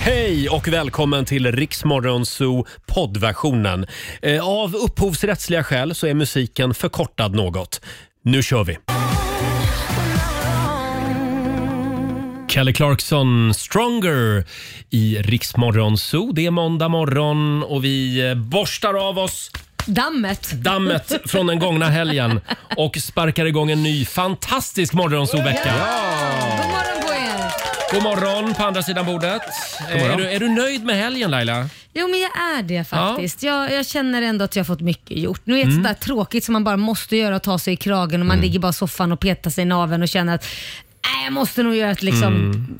Hej och välkommen till Riksmorgon Zoo poddversionen. Eh, Av upphovsrättsliga skäl så är musiken förkortad något. Nu kör vi! Kelly Clarkson, Stronger i Riksmorgon Zoo. Det är måndag morgon och vi eh, borstar av oss Dammet. dammet från den gångna helgen och sparkar igång en ny fantastisk morgonzoo-vecka. God morgon på er. God morgon på andra sidan bordet. Eh, Är du, är du nöjd med helgen Laila? Jo men jag är det faktiskt. Jag, jag känner ändå att jag har fått mycket gjort. Nu är det Mm. sådär tråkigt som man bara måste göra och ta sig i kragen och man ligger bara i soffan och petar sig i naveln och känner att Nej, jag måste nog göra ett liksom,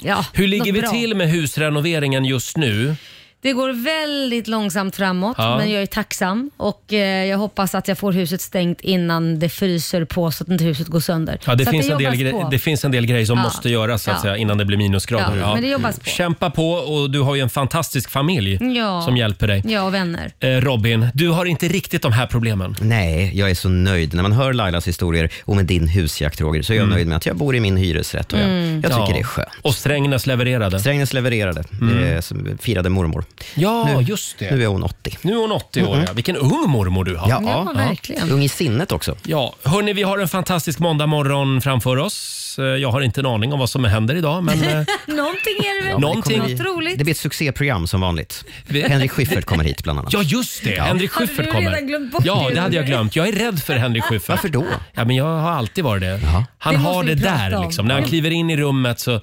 ja, Mm. Hur ligger något vi bra." till med husrenoveringen just nu? Det går väldigt långsamt framåt, Ja. men jag är tacksam och eh, jag hoppas att jag får huset stängt innan det fryser på så att inte huset går sönder. Ja, det, så att finns en del jobbas gre- på. det finns en del grejer som Ja. måste göras så att Ja. säga, innan det blir minusgrader. Ja, men det jobbas på. Kämpa på och du har ju en fantastisk familj Ja. som hjälper dig. Ja, och vänner. Eh, Robin, du har inte riktigt de här problemen. Nej, jag är så nöjd. När man hör Lailas historier och med din husjakt Roger, så är jag nöjd med att jag bor i min hyresrätt och jag, jag tycker det är skönt. Mm. Och Strängnäs levererade. Strängnäs levererade, eh, som firade mormor. Ja, just det. Nu är hon 80. Nu är hon 80 år. Ja. Vilken ung mormor du har. Ja, Ja, verkligen. Ung i sinnet också. Ja, hörni, vi har en fantastisk måndagmorgon framför oss. Eh, Jag har inte en aning om vad som händer idag, men eh, Någonting är det väl? Någon- Någonting- Det, Något kommer bli, roligt. det blir ett succéprogram som vanligt. Vi- Henrik Schyffert kommer hit bland annat. ja, just det. Henrik Hade Schyffert du kommer. redan glömt bort ja, det? det hade jag glömt. Jag är rädd för Henrik Schyffert. Varför då? Ja, men jag har alltid varit det. Han Det måste har det vi prata där om. liksom. När han kliver in i rummet så...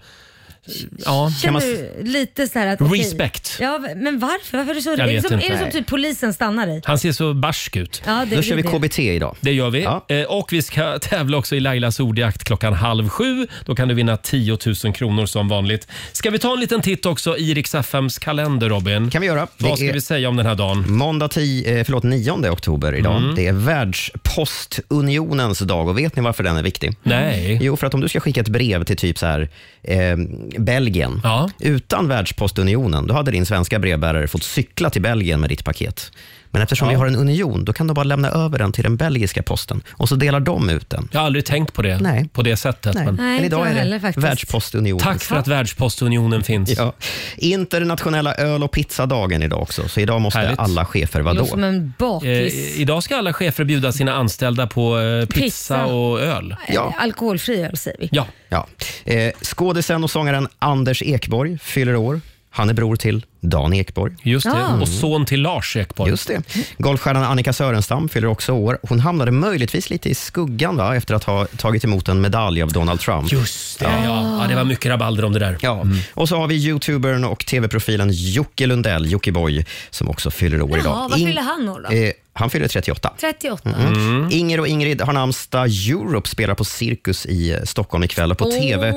Ja. Känner man- du lite så här att... okej. Respect. Ja, men varför? Varför är du så... Är Jag det vet som, inte. är det som typ polisen stannar dig? Han ser så barsk ut. Ja, det Då kör vi det. KBT idag. Det gör vi. Ja. Eh, Och vi ska tävla också i Lailas ordjakt klockan halv sju. Då kan du vinna 10 000 kronor som vanligt. Ska vi ta en liten titt också i Rix FMs kalender, Robin? kan vi göra. Vad ska Det är vi säga om den här dagen? måndag 10, eh, förlåt, 9 oktober idag. Mm. Det är Världspostunionens dag och vet ni varför den är viktig? Nej. Mm. Jo, för att om du ska skicka ett brev till typ så här, eh, Belgien. Ja. Utan Världspostunionen, då hade din svenska brevbärare fått cykla till Belgien med ditt paket. Men eftersom vi har en union, då kan de bara lämna över den till den belgiska posten och så delar de ut den. Jag har aldrig tänkt på det Nej. på det sättet. Nej, Men Nej, men inte jag idag är heller det faktiskt. Världspostunionen. tack för att Världspostunionen finns. Ja. Internationella öl och pizzadagen idag också, så idag måste Härligt. alla chefer vara Låter då. som en bakis. Eh, idag ska alla chefer bjuda sina anställda på eh, pizza, Pizza. och öl. Ja. eh, Alkoholfri öl säger vi. Ja, Ja. Eh, skådisen och sångaren Anders Ekborg fyller år. Han är bror till Dan Ekborg. just det. Ja. Och son till Lars Ekborg. Just det. Golfstjärnan Annika Sörenstam fyller också år. Hon hamnade möjligtvis lite i skuggan va? efter att ha tagit emot en medalj av Donald Trump. Just det, ja. ja. Det var mycket rabalder om det där. Ja. Och så har vi youtubern och tv-profilen Jocke Lundell, Jockiboi, som också fyller år idag. Jaha, vad In- fyller han år då? Eh, han fyller 38. 38. Mm. Inger och Ingrid har namnsdag. Europe spelar på Cirkus i eh, Stockholm ikväll och på Åh. TV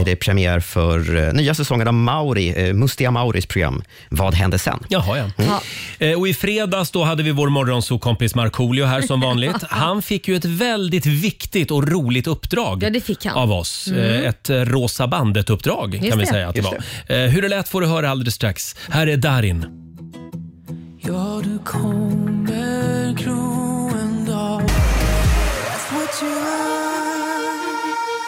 är det premiär för eh, nya säsongen av Mauri, eh, Mustiga Mauris program Vad hände sen? Jaha, ja. Ja. Eh, Och I fredags då hade vi vår morgonsokompis Markoolio här som vanligt. Han fick ju ett väldigt viktigt och roligt uppdrag Ja, det fick han. Mm. av oss. Eh, Ett eh, Rosa bandet-uppdrag kan Just vi det. säga att det Just var. Eh, Hur det lät får du höra alldeles strax. Här är Darin. Ja, du kommer gro en dag That's what you are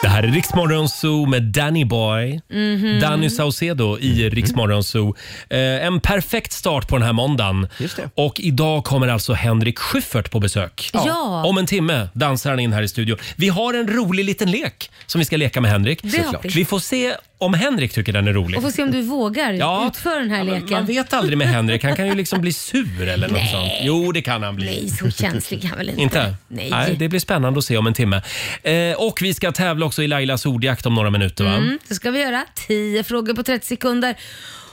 Det här är Riksmorgon Zoo med Danny Boy. Mhm. Danny Saucedo i Riksmorgon Zoo. Eh, en perfekt start på den här måndagen. Just det. Och idag kommer alltså Henrik Schyffert på besök. Ja. Om en timme dansar han in här i studion. Vi har en rolig liten lek som vi ska leka med Henrik. har vi. Vi får se om Henrik tycker den är rolig. Och får se om du vågar Ja. utföra den här Ja, men leken. Man vet aldrig med Henrik. Han kan ju liksom bli sur eller något sånt. Jo, det kan han bli. Nej, så känslig han väl inte? Inte? Nej. det blir spännande att se om en timme. Eh, och vi ska tävla också i Lailas ordjakt om några minuter. Va? Mm, det ska vi göra. 10 frågor på 30 sekunder.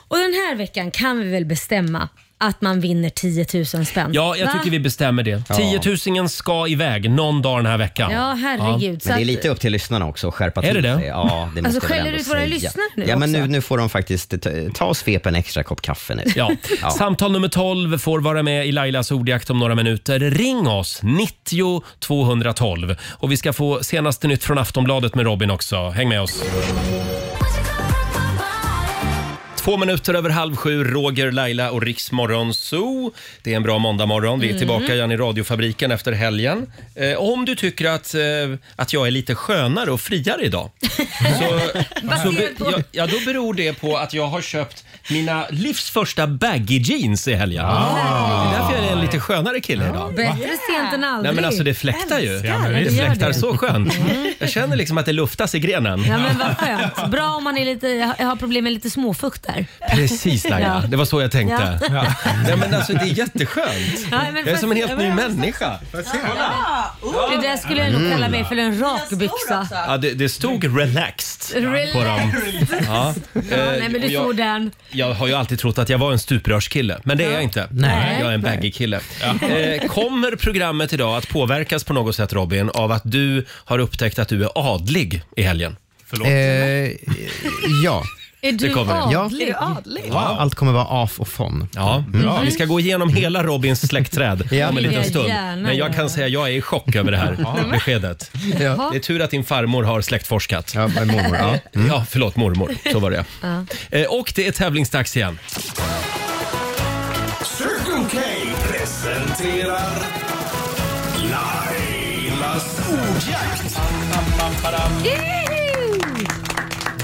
Och den här veckan kan vi väl bestämma att man vinner 10 000 spänn? Ja, jag Va? tycker vi bestämmer det. Tiotusingen ska iväg någon dag den här veckan. Ja, herregud. Så Men det är att- lite upp till lyssnarna också att Alltså, skärpa Är det till det? sig. Ja, det måste jag väl skäller ändå du ut våra säga. lyssnare nu Ja, men också? nu, nu får de faktiskt ta, ta och svepa en extra kopp kaffe nu. Ja. Samtal nummer 12 får vara med i Lailas ordjakt om några minuter. Ring oss, 90 212. Och vi ska få senaste nytt från Aftonbladet med Robin också. Häng med oss. Två minuter över halv sju, Roger, Laila och Riksmorgon Zoo. Det är en bra måndagmorgon. Vi är Mm. tillbaka igen i radiofabriken efter helgen. Eh, om du tycker att, eh, att jag är lite skönare och friare idag så, så be, Baserat på- ja, ja, då beror det på att jag har köpt mina livs första baggy jeans i helgen. Ah. Det är därför jag är en lite skönare kille idag. Bättre sent än aldrig. Nej men alltså det fläktar ju. Älskar Ja, men när visst. du Det gör fläktar det. så skönt. Jag känner liksom att det luftas i grenen. Ja men vad skönt. Bra om man är lite, jag har problem med lite småfukt där. Precis Laila, Ja. det var så jag tänkte. Ja. Nej men alltså det är jätteskönt. Ja, men Jag är som en helt ny människa. Det där skulle jag nog kalla mig för en rakbyxa. Ja, det, det stod relaxed Mm. på dem. Relax. Ja. Ja, nej men och du jag- såg den. Jag har ju alltid trott att jag var en stuprörskille, men det är jag inte. Nej. Jag är en baggy kille. Eh, kommer programmet idag att påverkas på något sätt Robin av att du har upptäckt att du är adlig i helgen? Förlåt. Eh, ja. Är du kommer. Ja. adlig? Allt kommer vara af och von. Ja, Mm. bra. Vi ska gå igenom hela Robins släktträd Ja. om en liten Vill jag stund. gärna Men jag göra. kan säga att jag är i chock över det här beskedet. Jaha. Det är tur att din farmor har släktforskat. Ja, men mormor. Ja. Ja, förlåt mormor. Så var det Eh, Och det är tävlingsdags igen. Circle K presenterar Lailas ordjakt.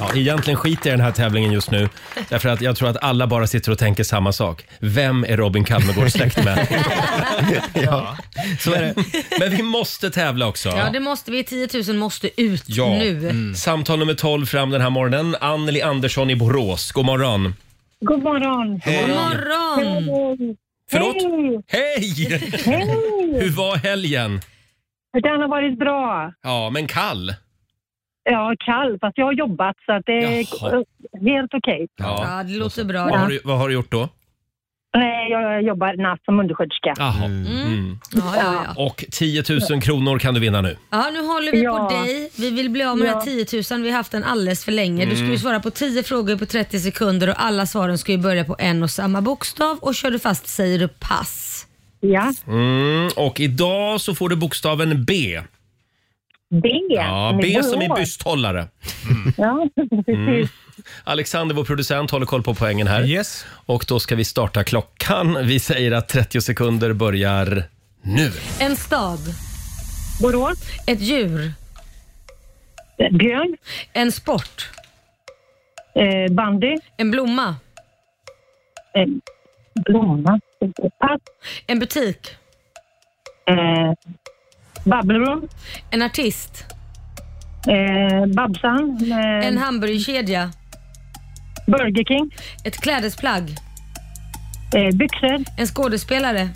Ja, egentligen skiter jag i den här tävlingen just nu. Därför att jag tror att alla bara sitter och tänker samma sak. Vem är Robin Kalmegård släkt med? Ja. Så är det. Men vi måste tävla också. Ja det måste vi. 10 000 måste ut Ja. Mm. nu. Samtal nummer 12 fram den här morgonen. Anneli Andersson i Borås. God morgon. God morgon. God morgon! Förlåt? Hej! Hej! Hur var helgen? Den har varit bra. Ja, men kall. Ja, kall, fast jag har jobbat så att det är Jaha. helt okej. Ja. Ja det låter bra. Vad, har Ja. du, vad har du gjort då? Nej, Jag jobbar natt som undersköterska. Jaha. Mm. Ja, ja, ja. Och 10 000 kronor kan du vinna nu. ja nu håller vi Ja. på dig. Vi vill bli av med Ja. de här 10 000. Vi har haft den alldeles för länge. Du Mm. skulle svara på 10 frågor på 30 sekunder och alla svaren ska ju börja på en och samma bokstav och kör du fast säger du pass. Ja. Mm. Och idag så får du bokstaven B. B. Ja, B som i Mm. Borås. bysthållare. Ja, precis. Alexander, vår producent, håller koll på poängen här. Yes. Och då ska vi starta klockan. Vi säger att 30 sekunder börjar nu. En stad, Borås. Eh, ett djur, Björn. en sport, Eh, bandy. en blomma, Eh, blomma. Pass. en butik, Eh, Babblerum. en artist, Eh, Babsan. Eh, en hamburgerkedja, Burger King. ett klädesplagg, Eh, byxor. en skådespelare,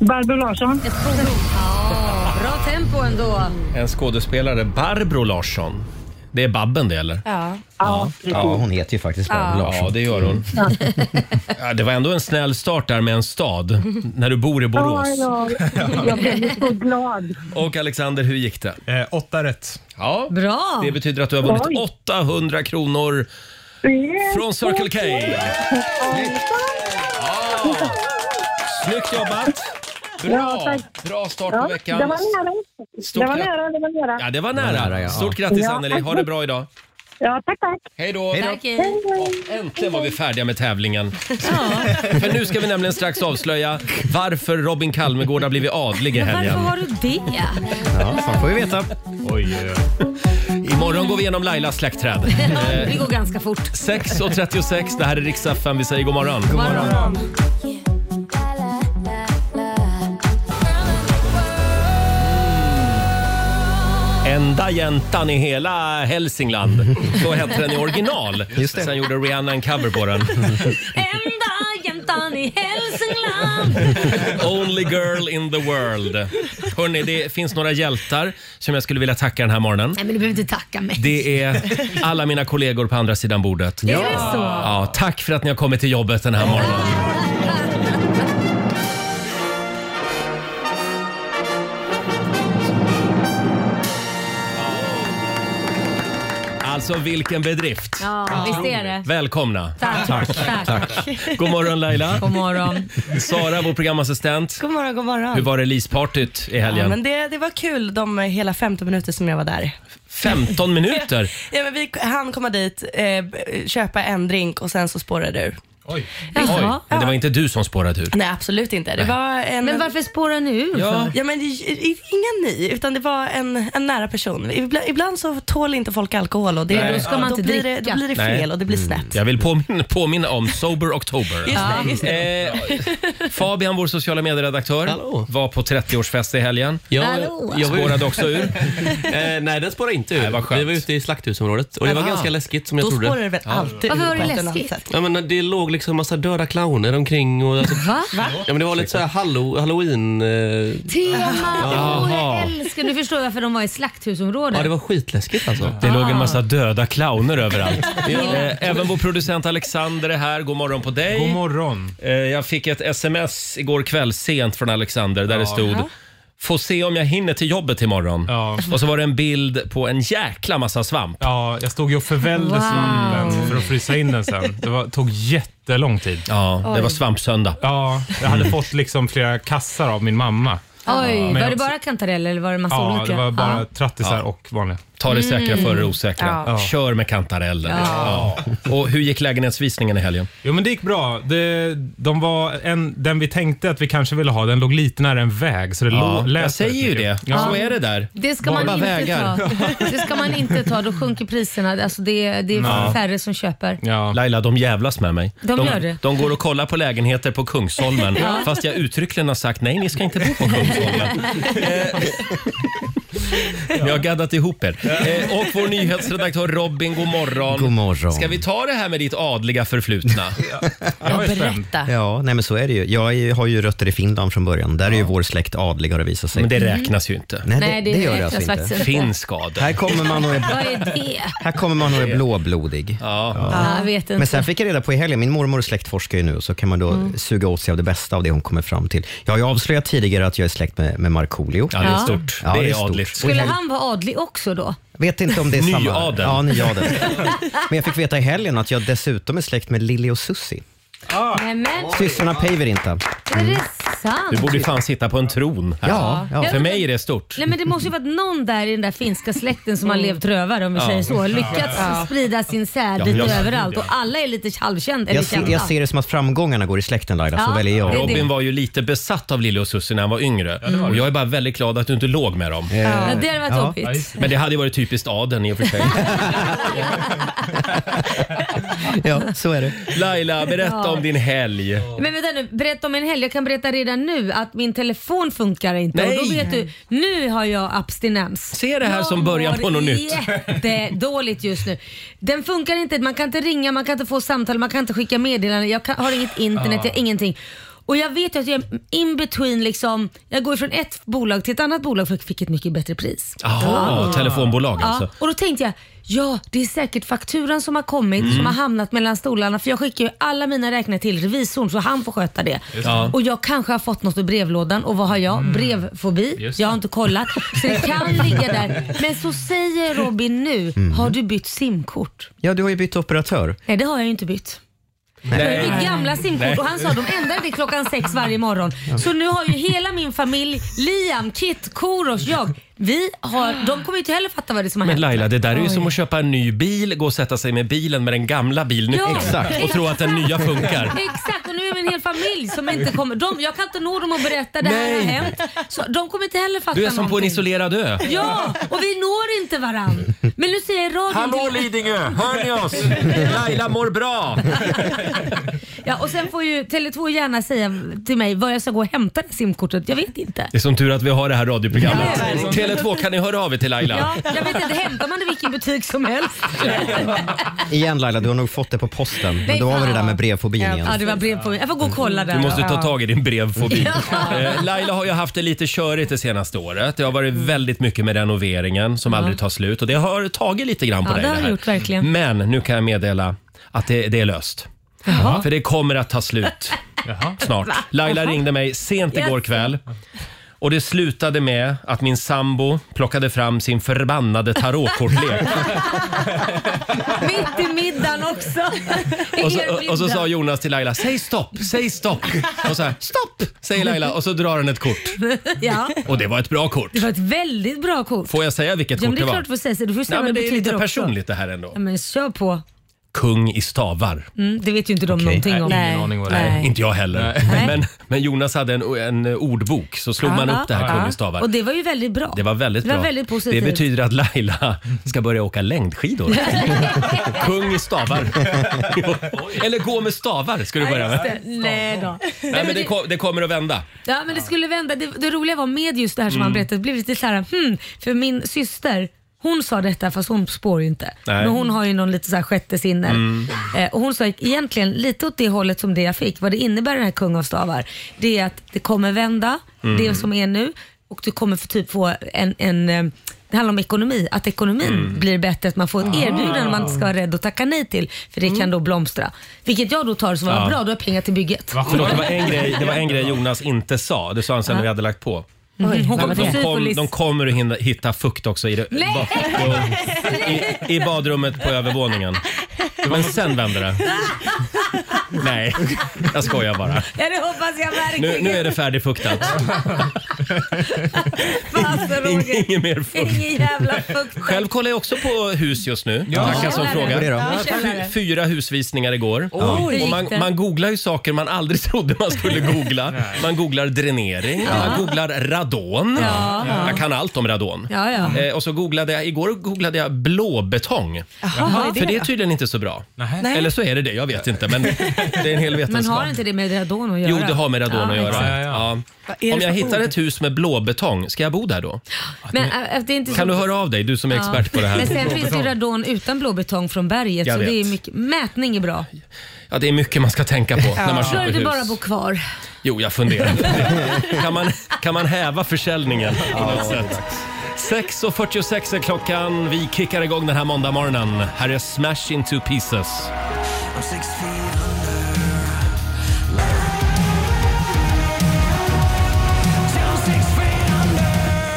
Barbro Larsson. ett fordon. Ja, bra tempo ändå. En skådespelare, Barbro Larsson. Det är Babben det eller? Ja. Ja, ja, hon heter ju faktiskt Barbro Ja, Larsson. det gör hon. Ja, det var ändå en snäll start där med en stad, när du bor i Borås. Ja, ja. Jag blev så glad. Och Alexander, hur gick det? Eh, åtta rätt. Ja, Bra! det betyder att du har vunnit Oj. 800 kronor från Circle K. Ja. Snyggt jobbat! Ja, Bra, tack. bra start Ja, på det veckan. var nära. Stort det var grat- nära, det var nära. Ja, det var Det var nära. nära, ja. Stort grattis Ja. Anneli, ha det bra idag. Ja, tack, tack. Hej då! Tack, hej. Äntligen var vi färdiga med tävlingen. För nu ska vi nämligen strax avslöja varför Robin Kalmegård har blivit adlig i Varför helgen. har du det? Ja, fan får vi veta. Oj, oj, oj. Imorgon går vi igenom Lailas släktträd. Det går ganska fort. 6.36, det här är Rix FM. Vi säger god morgon. Morgon. Enda jäntan i hela Hälsingland. Så hette den i original. Just det. Sen gjorde Rihanna en cover på den. Enda jämtan i Hälsingland. Only girl in the world. Hörrni, det finns några hjältar som jag skulle vilja tacka den här morgonen. Nej men du behöver inte tacka mig. Det är alla mina kollegor på andra sidan bordet. Är det så? Ja, tack för att ni har kommit till jobbet den här morgonen. Alltså vilken bedrift. Ja, visst är det. Välkomna. Tack. Tack. God morgon Laila. God morgon. Sara, vår programassistent. God morgon, god morgon. Hur var det Lispartyt i ja, men helgen? det, det var kul de eh, hela 15 minuter som jag var där. 15 minuter. Ja, men vi han komma dit, eh, b- köpa en drink och sen så spårade det ur. Oj. Oj, Jaha. men det var inte du som spårade ur. Nej, absolut inte. Det var en... Men varför spårar ni ur Ja. för? Ja, men det är inga ni, utan det var en, en nära person. Ibland, ibland så tål inte folk alkohol och det, Nej, då ska man inte blir det, dricka. då blir det Nej. fel och det blir snett. Jag vill påminna, påminna om Sober October. Just det, just det. Eh, Fabian, vår sociala medieredaktör, Hallå. var på 30-årsfest i helgen. Jag, Hallå. jag var, Spårade också ur. eh, nej, den spårade inte Nej, ur. vad skönt. Vi var ute i slakthusområdet och det var Ah. ganska läskigt som jag Då trodde. spårar det väl alltid Varför var det på ett eller annat läskigt? sätt. Ja, men det låg liksom massa döda clowner omkring. Och alltså, Va? ja, men det var lite så här hallo, halloween... Eh, Tema! Åh, Jaha. jag älskar Nu förstår jag varför de var i ja, slakthusområdet. det var skitläskigt alltså. Det Ah. låg en massa döda clowner överallt. Eh, Även vår producent Alexander är här. God morgon på dig. God morgon. Eh, Jag fick ett sms igår kväll sent från Alexander där det stod Får se om jag hinner till jobbet imorgon. Ja. Och så var det en bild på en jäkla massa svamp. Ja, jag stod ju och förvällde Wow. svampen för att frysa in den sen. Det var, tog jättelång tid. Ja, det var svampsöndag. Ja, jag hade fått liksom flera kassar av min mamma. Oj, Men var det också- bara kantareller eller var det massa Ja, olika? det var bara Ja. trattisar och vanliga. Ta det säkra Mm. före det osäkra. Ja. Kör med kantareller. Ja. Och hur gick lägenhetsvisningen i helgen? Jo, men det gick bra. Det, de var en, den vi tänkte att vi kanske ville ha, den låg lite nära en väg. Så det Ja, lå, lät jag säger ju väldigt det. mycket. Så är det där. Det ska, Bara man inte vägar. ta. det ska man inte ta, då sjunker priserna. Alltså det, det är färre som köper. Ja. Laila, de jävlas med mig. De gör det. de går och kollar på lägenheter på Kungsholmen fast jag uttryckligen har sagt nej, ni ska inte bo på Kungsholmen. Eh, Ni har gaddat ihop er. Eh, Och vår nyhetsredaktör Robin, god morgon. God morgon. Ska vi ta det här med ditt adliga förflutna? Jag är spänd. Berätta. Ja, nej men så är det ju. Jag är, ju- har ju rötter i Finland från början. Där är ju vår släkt adlig har det visat sig. Men det räknas ju inte. nej, Nej, det, det gör det räknas alltså faktiskt inte. inte. Finsk adel. Här kommer man och är, Vad är det? här kommer man och är blåblodig. Ja. Ja, jag vet inte. Men sen fick jag reda på i helgen, min mormor släktforskar ju nu, så kan man då suga åt sig av det bästa av det hon kommer fram till. Jag har ju avslöjat tidigare att jag är släkt med, med Markoolio. ja, det är Ja. stort. Ja, det det är är stort. adligt. Skulle han vara adlig också då? Vet inte om det är samma... Nyadel. Ja, nyadeln. Men jag fick veta i helgen att jag dessutom är släkt med Lili och Susi. Nej men, Systrarna Päivärinta. är det Du sant? borde ju fan sitta på en tron här. Ja, ja. För mig är det stort. Nej, men det måste ju varit någon där i den där finska släkten som har Mm. levt rövare om vi säger så. Lyckats sprida sin sär lite jag- överallt och alla är lite halvkända. eller Jag, ser- jag kända. ser det som att framgångarna går i släkten Laila, så Ja. väljer jag. Det- det- Robin var ju lite besatt av Lille och Susie när han var yngre. och jag är bara väldigt glad att du inte låg med dem. Ja, det hade varit Ja. jobbigt. Men det hade ju varit typiskt adeln i och för sig. Ja, så är det. Laila, berätta om din helg. Men vänta nu, berätta om en helg. Jag kan berätta redan nu att min telefon funkar inte. Och då Nej. vet du, nu har jag abstinens. Se det här som början på något nytt. nytt. dåligt just nu. Den funkar inte, man kan inte ringa, man kan inte få samtal, man kan inte skicka meddelanden. Jag kan, har inget internet, jag har ingenting. Och jag vet ju att jag är in between liksom, jag går från ett bolag till ett annat bolag för jag fick ett mycket bättre Ah, pris. Jaha, telefonbolag alltså. Ja, och då tänkte jag, ja det är säkert fakturan som har kommit som har hamnat mellan stolarna för jag skickar ju alla mina räkningar till revisorn så han får sköta det. Ja. Och jag kanske har fått något ur brevlådan och vad har jag? Brevfobi. Just det. Jag har inte kollat. Så det kan ligga där. Men så säger Robin nu, har du bytt simkort? Ja, du har ju bytt operatör. Nej det har jag ju inte bytt. Nej. Mitt gamla simkort och han sa de ändrar det klockan sex varje morgon. Så nu har ju hela min familj, Liam, Kit, Korosh, jag, vi har, de kommer ju inte heller fatta vad det är som har Men hänt. Laila, det där är ju som att köpa en ny bil, gå och sätta sig med bilen med den gamla bilen Ja, och tro att den nya funkar. Exakt, och nu är min hel familj som inte kommer. De, jag kan inte nå dem och berätta det här har Nej. hänt. Så de kommer inte heller fatta Du är som på en någonting. isolerad ö. Ja, och vi når inte varann. Men nu säger radion... Hallå Lidingö, hör ni oss? Laila mår bra. Ja, och sen får ju Tele2 gärna säga till mig var jag ska gå och hämta det simkortet. Jag vet inte. Det är som tur att vi har det här radioprogrammet. Tele2, kan ni höra av er till Laila? Ja, jag vet inte, hämtar man det i vilken butik som helst? Igen Laila, du har nog fått det på posten. Men då har vi det där med brevfobin igen. Ja, det var brev på mig. Jag får gå och kolla där. Du måste ta tag i din brevfobi. Ja. Eh, Laila har ju haft det lite körigt det senaste året. Det har varit Mm. väldigt mycket med renoveringen som aldrig tar slut och det har tagit lite grann på Ja, dig. det har det här. gjort verkligen. Men nu kan jag meddela att det, det är löst. Jaha. För det kommer att ta slut snart. Laila ringde mig sent igår Yes. kväll. Och det slutade med att min sambo plockade fram sin förbannade tarotkortlek. Mitt i middagen också. Och så, och, och så sa Jonas till Laila, säg stopp, säg stopp. Och så här, stopp, säger Laila och så drar han ett kort. Ja, Och det var ett bra kort. det var ett väldigt bra kort. Får jag säga vilket Ja, men kort det det är var? klart du får säga så. Du får ju säga Nej, men vad det det är betyder lite också. personligt det här ändå. Ja, men kör på. kung i stavar. Mm, det vet ju inte de någonting om. Nej, ingen aning vad det är. Inte jag heller. Nej. Men, men Jonas hade en, en ordbok, så slog man Ja, upp det här ja, kung ja. i stavar. Och det var ju väldigt bra. Det var väldigt Det var bra. väldigt positivt. Det betyder att Laila ska börja åka längdskidor. Kung i stavar. Eller gå med stavar ska du börja med. Just det. Nej då. Nej, men det, ko- det kommer att vända. Ja men det skulle vända. Det, det roliga var med just det här som Mm. han berättade, det blev lite så här, hmm, för min syster hon sa detta fast hon spår ju inte. Nej. Mm. Men hon har ju någon lite så här sjätte sinne. Eh, och hon sa egentligen lite åt det hållet som det jag fick. Vad det innebär den här kung av stavar. Det är att det kommer vända, Mm. det som är nu. Och du kommer för typ få en, en eh, det handlar om ekonomi, att ekonomin Mm. blir bättre, att man får Ah. ett erbjudande man ska vara rädd att tacka nej till. För det Mm. kan då blomstra. Vilket jag då tar som var bra, då har jag pengar till bygget. Förlåt, det var en grej, det var en grej Jonas inte sa. Det sa han sen när vi hade lagt på. Mm. Hon kommer De, få de, kom, syfilis. de kommer att hinna, hitta fukt också i, det, Nej! i, i badrummet på övervåningen. Men sen vänder det. Nej, jag skojar bara. Ja, det hoppas jag Nu, verkligen. nu är det färdigfuktat. Fan, så In, Roger. ingen mer fukt. Ingen jävla fukt. Själv kollar jag också på hus just nu. Ja. Tackar som Ja, fråga. det är det. Ja, Fy- källare. Fyra husvisningar igår. hur gick Och man, det? man googlar ju saker man aldrig trodde man skulle googla. Man googlar dränering, man googlar radon. Ja. Jag kan allt om radon. Ja, ja. Eh, och så googlade jag, igår googlade jag blåbetong. vad är det För det är tydligen inte så bra. Nej. Eller så är det det, jag vet inte. Men det är en hel Men vetenskap. har inte det med radon att göra? Jo, det har med radon att göra. exakt. Ja, ja, Vad är det Om för jag hittar ord? ett hus med blåbetong, ska jag bo där då? Men äh, det är inte Kan så... du höra av dig, du som är expert på det här? Men sen finns det ju radon utan blåbetong från berget. Jag Så det är vet. mycket... Mätning är bra. Ja, det är mycket man ska tänka på när man Ska köper du hus. bara bo kvar? Jo, jag funderar på det. Kan man, kan man häva försäljningen på något sätt? 6.46 är klockan. Vi kickar igång den här måndagmorgonen. Här är Smash into pieces.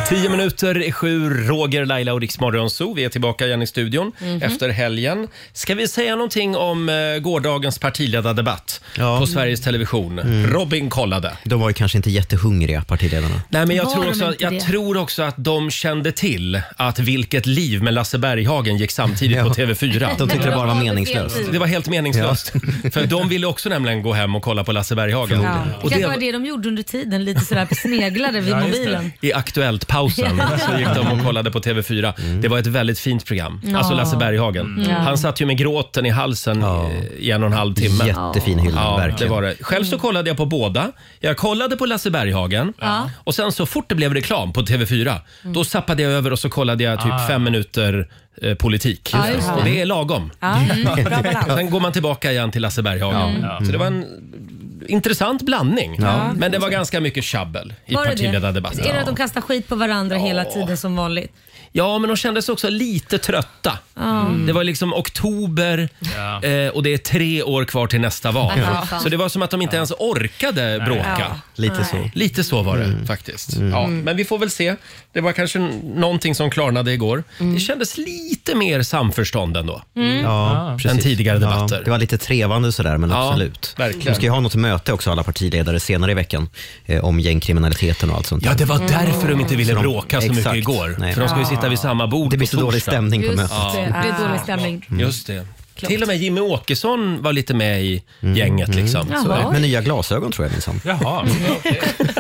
Tio minuter i sju, Roger, Laila och Riksmorgon Zoo. Vi är tillbaka igen i studion efter helgen. Ska vi säga någonting om eh, gårdagens partiledardebatt Ja. Mm. på Sveriges Television? Robin kollade. De var ju kanske inte jättehungriga, partiledarna. Nej, men jag, Var tror de också, att- inte jag det? tror också att de kände till att Vilket liv med Lasse Berghagen gick samtidigt på Ja. De TV4. tyckte det bara var Ja, meningslöst. det är Det var helt meningslöst. För de ville också nämligen gå hem och kolla på Lasse Berghagen. Ja. Och Det kanske var det, det de gjorde under tiden, lite sådär sneglade vid Ja, just det. mobilen. I Aktuellt-pausen så gick de och kollade på TV4. Det var ett väldigt fint program. Alltså Lasse Berghagen. Mm. Ja. Han satt ju med gråten i halsen Ja. eh, i en och en halv timme. Jättefin hyllning, Ja, det verkligen. var det. Själv så kollade jag på båda. Jag kollade på Lasse Berghagen Ja. Mm. och sen så fort det blev reklam på TV4 då zappade jag över och så kollade jag typ fem minuter eh, politik. Ah. Ja, just det. och det är lagom. Ja, mm, bra balans. Sen går man tillbaka igen till Lasse Berghagen. Så det var en Mm. intressant blandning. Men det var ganska mycket tjabbel i Var det det? partiledardebatten. Är det att de kastar skit på varandra hela tiden som vanligt? Ja, men de kändes också lite trötta. Det Mm. var liksom oktober eh, och det är tre år kvar till nästa val. Ja. Så det var som att de inte ens orkade bråka. Lite så. Lite så var det Mm. faktiskt. Ja, Mm. men vi får väl se. Det var kanske n- någonting som klarnade igår. Mm. Det kändes lite mer samförstånd ändå. Ja, precis. Än tidigare debatter. Ja, det var lite trevande sådär, men Ja, absolut. verkligen. De ska ju ha något möte också, alla partiledare, senare i veckan eh, om gängkriminaliteten och allt sånt Ja, där. det var därför de inte ville Så de- bråka så mycket exakt. igår. Nej. För de ska ju sitta vid samma bord Det blir på så dålig torsdag. stämning Mm. på Just mötet. det, det är dålig stämning. Just det. Till och med Jimmy Åkesson var lite med i Mm. gänget. Liksom. Så, Mm. Jaha. Med nya glasögon tror jag minsann. Jaha. Mm.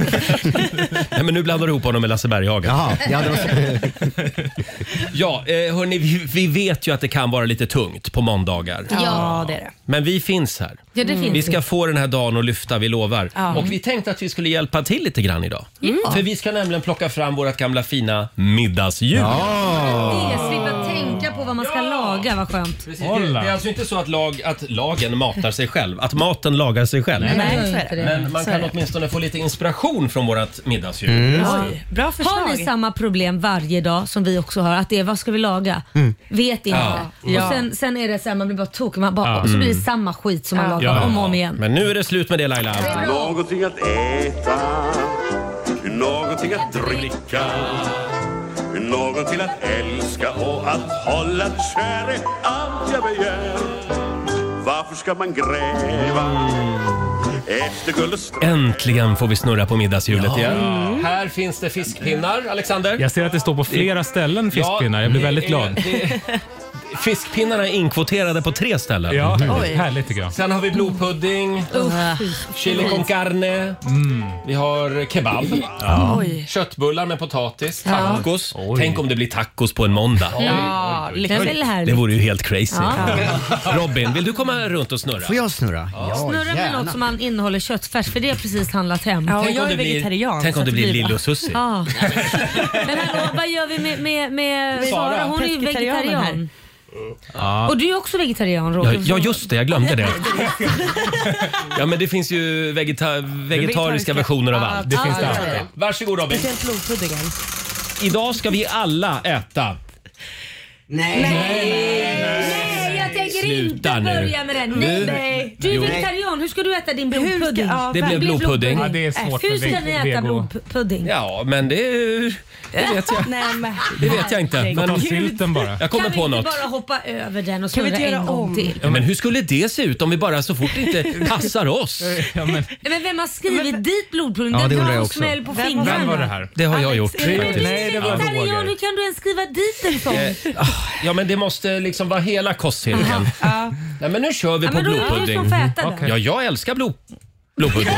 nej, men nu blandar du ihop honom med Lasse Berghagen. Ja, Jaha, ja, det var så. eh, hörni, vi, vi vet ju att det kan vara lite tungt på måndagar. Ja, det är det. Men vi finns här. Ja, Mm. det finns Vi ju. ska få den här dagen att lyfta, vi lovar. Och vi tänkte att vi skulle hjälpa till lite grann idag. Mm. För vi ska nämligen plocka fram vårt gamla fina middagsljud. det, slippa tänka på vad man ska laga, vad skönt. Precis. Det, det är alltså inte så att, lag, att lagen matar sig själv, att maten lagar sig själv. Nej, så gör är det. inte det. Men man Så kan är det. Mm. åtminstone få lite inspiration från vårt middagsljud. Oj, bra förslag. Mm. Har ni samma problem varje dag som vi också har? Att det är vad ska vi laga? Mm. Vet inte. Ja. Och sen, sen är det så här, man blir bara tokig. Man bara, Och så blir det samma skit som man lagar Ja. om och om igen. Men nu är det slut med det Laila. Någonting att äta, någonting att dricka någon till att älska och att hålla kär är allt jag begär Varför ska man gräva efter guld och str- Äntligen får vi snurra på middagshjulet igen. Mm. Här finns det fiskpinnar, Alexander. Jag ser att det står på flera ställen fiskpinnar. Jag blir det väldigt är- glad. det- Fiskpinnarna är inkvoterade på tre ställen. Ja, Oj. härligt tycker jag. Sen har vi blodpudding, chili con carne, vi har kebab, Oj. köttbullar med potatis, tacos. Tänk om det blir tacos på en måndag. Ja, det är väl Det härligt. vore ju helt crazy. Ja. Robin, vill du komma runt och snurra? Får jag snurra? Ja, Snurra med något som man innehåller köttfärs för det har precis handlat hem. Ja, och Tänk om jag är det blir- vegetarian. Tänk så om det att blir Lillo Susie. Ja. Men hallå, vad gör vi med, med, med Sara. Sara? Hon är ju Pescetarianen vegetarian. Och du är också vegetarian Ja, Roger. ja, just det. Jag glömde det. Ja, men det finns ju vegeta vegetariska Vegetariska. versioner av allt. Det finns det ja, allt. ja. Varsågod Robin. Speciellt blodpuddingen. Idag ska vi alla äta. Nej, jag tänker Sluta inte nu. börja med den. Nu. Nej, nej. Du är Jo. vegetarian, hur ska du äta din Hur ska- blodpudding? Äh, ja, Det blev blodpudding. Ja, det är svårt Hur med ska ni äta vego. blodpudding? Ja, men det, det vet jag. Nej, men. Det vet jag inte. Ta Men sylten bara. jag Kan kommer vi på inte något. bara hoppa över den och Kan vi snurra inte en göra gång om? till? Ja, men hur skulle det se ut om vi bara så fort det inte passar oss? Ja, men, Nej, Men vem har skrivit dit blodpudding? Ja, Den det undrar drar jag och också. smäll på Vem- fingrarna. vem var det här? Det har jag gjort det- faktiskt. Nej, det var Vegetarian, Roger. hur kan du ens skriva dit en sån? Eh, Ja, men det måste liksom vara hela kostcirkeln. Nej, men nu kör vi Ja, på men då är det du blodpudding. som får äta den. Okej. Ja, jag älskar blod, blodpudding.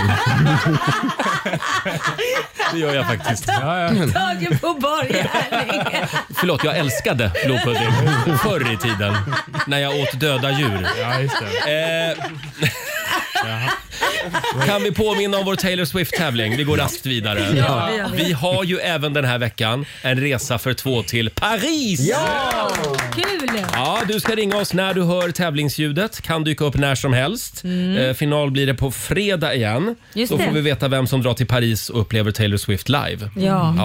Det gör jag faktiskt. Ja, ja. Tagen på bar gärning. Förlåt, jag älskade blodpudding förr i tiden när jag åt döda djur. ja, just det. Eh, kan vi påminna om vår Taylor Swift-tävling? Vi går raskt vidare. Ja, det gör vi. Vi har ju även den här veckan en resa för två till Paris! Kul! Ja, du ska ringa oss när du hör tävlingsljudet. Kan dyka upp när som helst. Eh, final blir det på fredag igen. Mm. Just Då det. får vi veta vem som drar till Paris och upplever Taylor Swift live. Ja,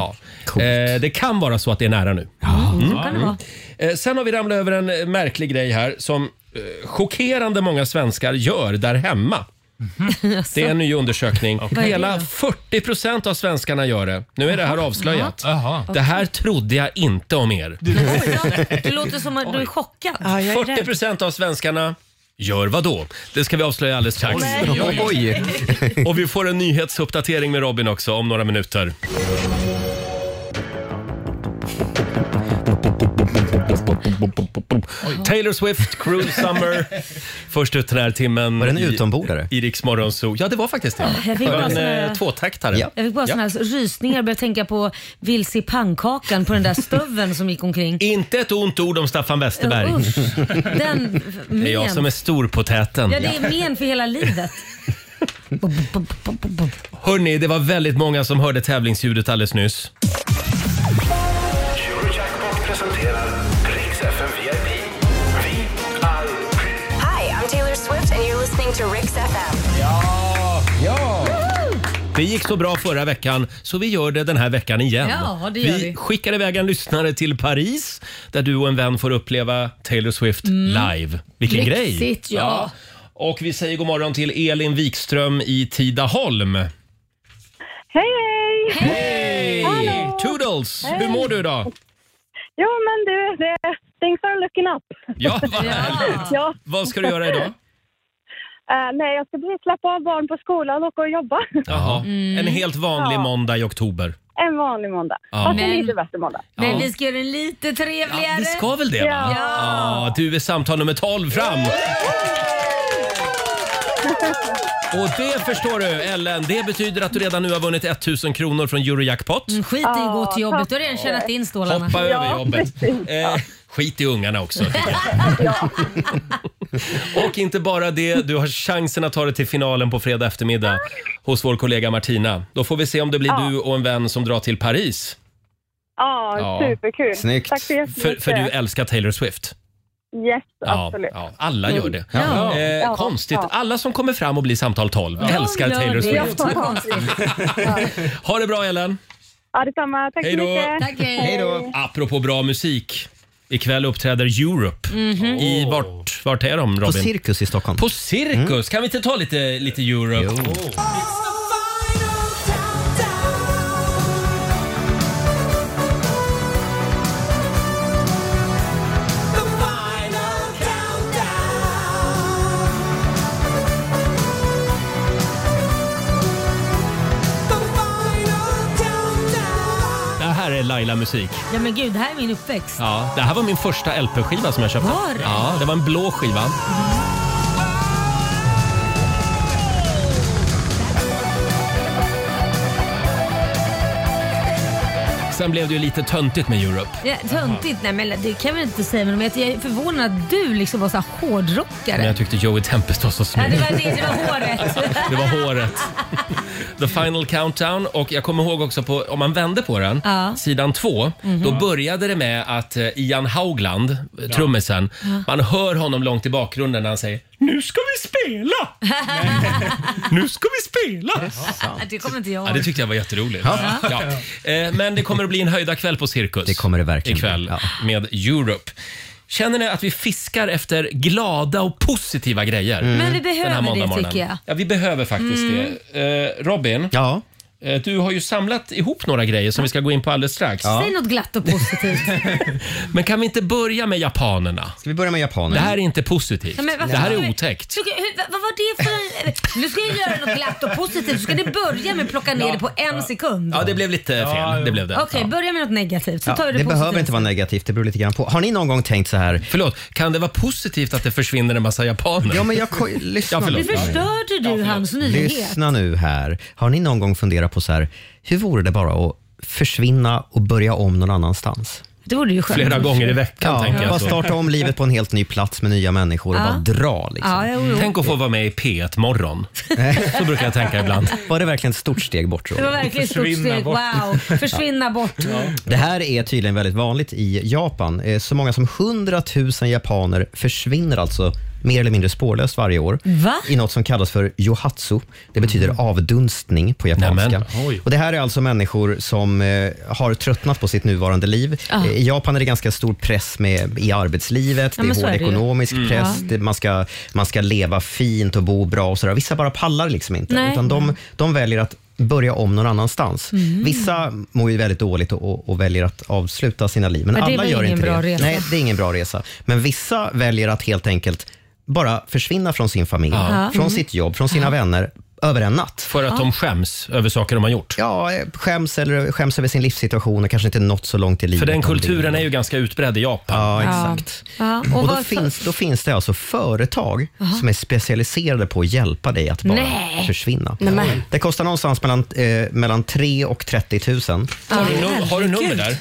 Ja. Eh, det kan vara så att det är nära nu. så kan det vara. Eh, sen har vi ramlat över en eh, märklig grej här som eh, chockerande många svenskar gör där hemma. Mhm. Alltså. Det är en ny undersökning. Hela 40 procent av svenskarna gör det. Nu är det här avslöjat. Jaha. Det här trodde jag inte om er. Det låter som att du är chockad. Ja, jag är 40 rädd. procent av svenskarna gör vad då? Det ska vi avslöja alldeles strax. Oj! Och vi får en nyhetsuppdatering med Robin också om några minuter. Taylor Swift, Cruel Summer. Först ut den här timmen. Var det en i- utombordare? I Rix Morgonzoo. Ja, det var faktiskt det. jag Det fick var bara en sån eh, här- tvåtaktare. Ja. Jag fick bara såna här rysningar och började tänka på vilse i pannkakan på den där stöveln som gick omkring. Inte ett ont ord om Staffan Westerberg. Usch, den men. Det är jag som är stor på täten. Ja, det är men för hela livet. Hörni, det var väldigt många som hörde tävlingsljudet alldeles nyss. Eurojackpot presenterar Rix FM VIP. Vi är... Hi, I'm Taylor Swift and you're listening to Rix FM. Det gick så bra förra veckan så vi gör det den här veckan igen. Ja, det gör vi. skickar iväg en lyssnare till Paris där du och en vän får uppleva Taylor Swift live. Vilken grej! Lyxigt, Mm. ja. Och vi säger god morgon till Elin Wikström i Tidaholm. Hej, hej! Hej! Toodles! Hur mår du idag? Jo, men du, det, things are looking up. Ja, vad härligt! Ja. Mm. Ja, Vad ska du göra idag? eh, nej, jag ska precis släppa av barn på skolan och gå och jobba. Jaha. En helt vanlig Ja. måndag i oktober. En vanlig måndag. Ja. Fast en Men- lite bättre måndag. Men vi ska göra den lite Ja, trevligare. vi ska väl det? Va? Ja. Ja, du är samtal nummer 12 fram. Och det förstår du Ellen, det betyder att du redan nu har vunnit 1000 kronor från Eurojackpot. Mm, Skit i att gå till jobbet, du har redan tjänat in stålarna. Hoppa över jobbet. Mm. precis. Eh, skit i ungarna också. tycker jag. Och inte bara det, du har chansen att ta dig till finalen på fredag eftermiddag hos vår kollega Martina. Då får vi se om det blir du och en vän som drar till Paris. Ja, Ja. superkul. Snyggt. Tack så För, jättemycket. för du älskar Taylor Swift. Yes, Ja, absolut. Mm. ja, alla gör det. Ja. Eh, Ja. Konstigt. Ja. Alla som kommer fram och blir samtal 12 älskar De gör Taylor det. Swift. Vad konstigt. Ha det bra Ellen! Ja, detsamma. Tack Hej så då. mycket. Tack, hej. då! Apropå bra musik. Ikväll uppträder Europe. Mhm. I vart, vart är de På Robin? Cirkus i Stockholm. På Cirkus! Mm. Kan vi inte ta lite, lite Europe? Det här är Laila-musik. Ja men gud, det här är min uppväxt. Ja, det här var min första LP-skiva som jag köpte. Var det? Ja, det var en blå skiva. Sen blev det ju lite töntigt med Europe. Ja, töntigt, nej men det kan jag väl inte säga men jag är förvånad att du liksom var så här Men hårdrockare. jag tyckte Joey Tempest var så Ja, snygg. det var det, det var håret. Det var håret. The Final Countdown och jag kommer ihåg också på, om man vände på den, Ja. sidan två, Mhm. då började det med att eh, Ian Haugland, eh, trummisen, Ja. man hör honom långt i bakgrunden när han säger Nu ska vi spela! “Nu ska vi spela!” Det kommer inte jag Ja, det tyckte jag var jätteroligt. Ja. Ja. Eh, Men det kommer att bli en höjda kväll på Cirkus. Det kommer det verkligen Ikväll med Europe. Känner ni att vi fiskar efter glada och positiva grejer? Men vi Mm. den behöver här det, måndagmorgonen? tycker jag. Ja, vi behöver faktiskt Mm. det. Eh, Robin, ja? du har ju samlat ihop några grejer som vi ska gå in på alldeles strax. Säg något glatt och positivt. Men kan vi inte börja med japanerna? Ska vi börja med japanerna? Det här är inte positivt. Nej, men varför det här ska är vi- otäckt. Så- hur- Vad vad var det för... Nu ska jag göra något glatt och positivt. Så ska det börja med att plocka ner det på en sekund. Ja, det blev lite fel. det blev det. Okej, börja med något negativt så Ja, tar vi det, det positivt. behöver inte vara negativt, det beror lite grann på. Har ni någon gång tänkt så här? Förlåt, kan det vara positivt att det försvinner en massa japaner? Ja, men jag ko- lyssna. Nu förstörde du hans nyhet. Lyssna nu här. Har ni någon gång funderat på så här, hur vore det bara att försvinna och börja om någon annanstans? Det vore ju skönt. ja, Bara starta om livet på en helt ny plats med nya människor och Ja. bara dra. Liksom. Ja, jo, jo. Tänk att få vara med i P1 morgon. Så brukar jag tänka ibland. Var det verkligen ett stort steg bort? Roger? Det var verkligen ett stort steg. Wow. Försvinna bort. Det här är tydligen väldigt vanligt i Japan. Eh, Så många som 100 000 japaner försvinner alltså mer eller mindre spårlöst varje år Va? i något som kallas för yohatsu. Det betyder Mm. avdunstning på japanska. Och det här är alltså människor som eh, har tröttnat på sitt nuvarande liv. Ja. Eh, I Japan är det ganska stor press med, i arbetslivet, Ah. Ja, det men är så hård är det ju. ekonomisk Mm. press, Ja. det, man, ska, man ska leva fint och bo bra och sådär. Vissa bara pallar liksom inte, Nej. utan de, de väljer att börja om någon annanstans. Mm. Vissa mår ju väldigt dåligt och, och, och väljer att avsluta sina liv. Men, Men det alla var gör ingen inte bra det. resa. Nej, det är ingen bra resa. Men vissa väljer att helt enkelt bara försvinna från sin familj, Ja. från Mm. sitt jobb, från sina vänner över en natt. För att de skäms över saker de har gjort. Ja, eh, skäms, eller skäms över sin livssituation och kanske inte nått så långt i livet. För den de vill. kulturen är ju ganska utbredd i Japan. Ja, exakt. Ja. Och, då, varför- finns, då finns det alltså företag Jaha. som är specialiserade på att hjälpa dig att bara Nej. försvinna. Nej, men. Det kostar någonstans mellan, eh, mellan 3 och 30 000. Ah. Har du, num- har du nummer där?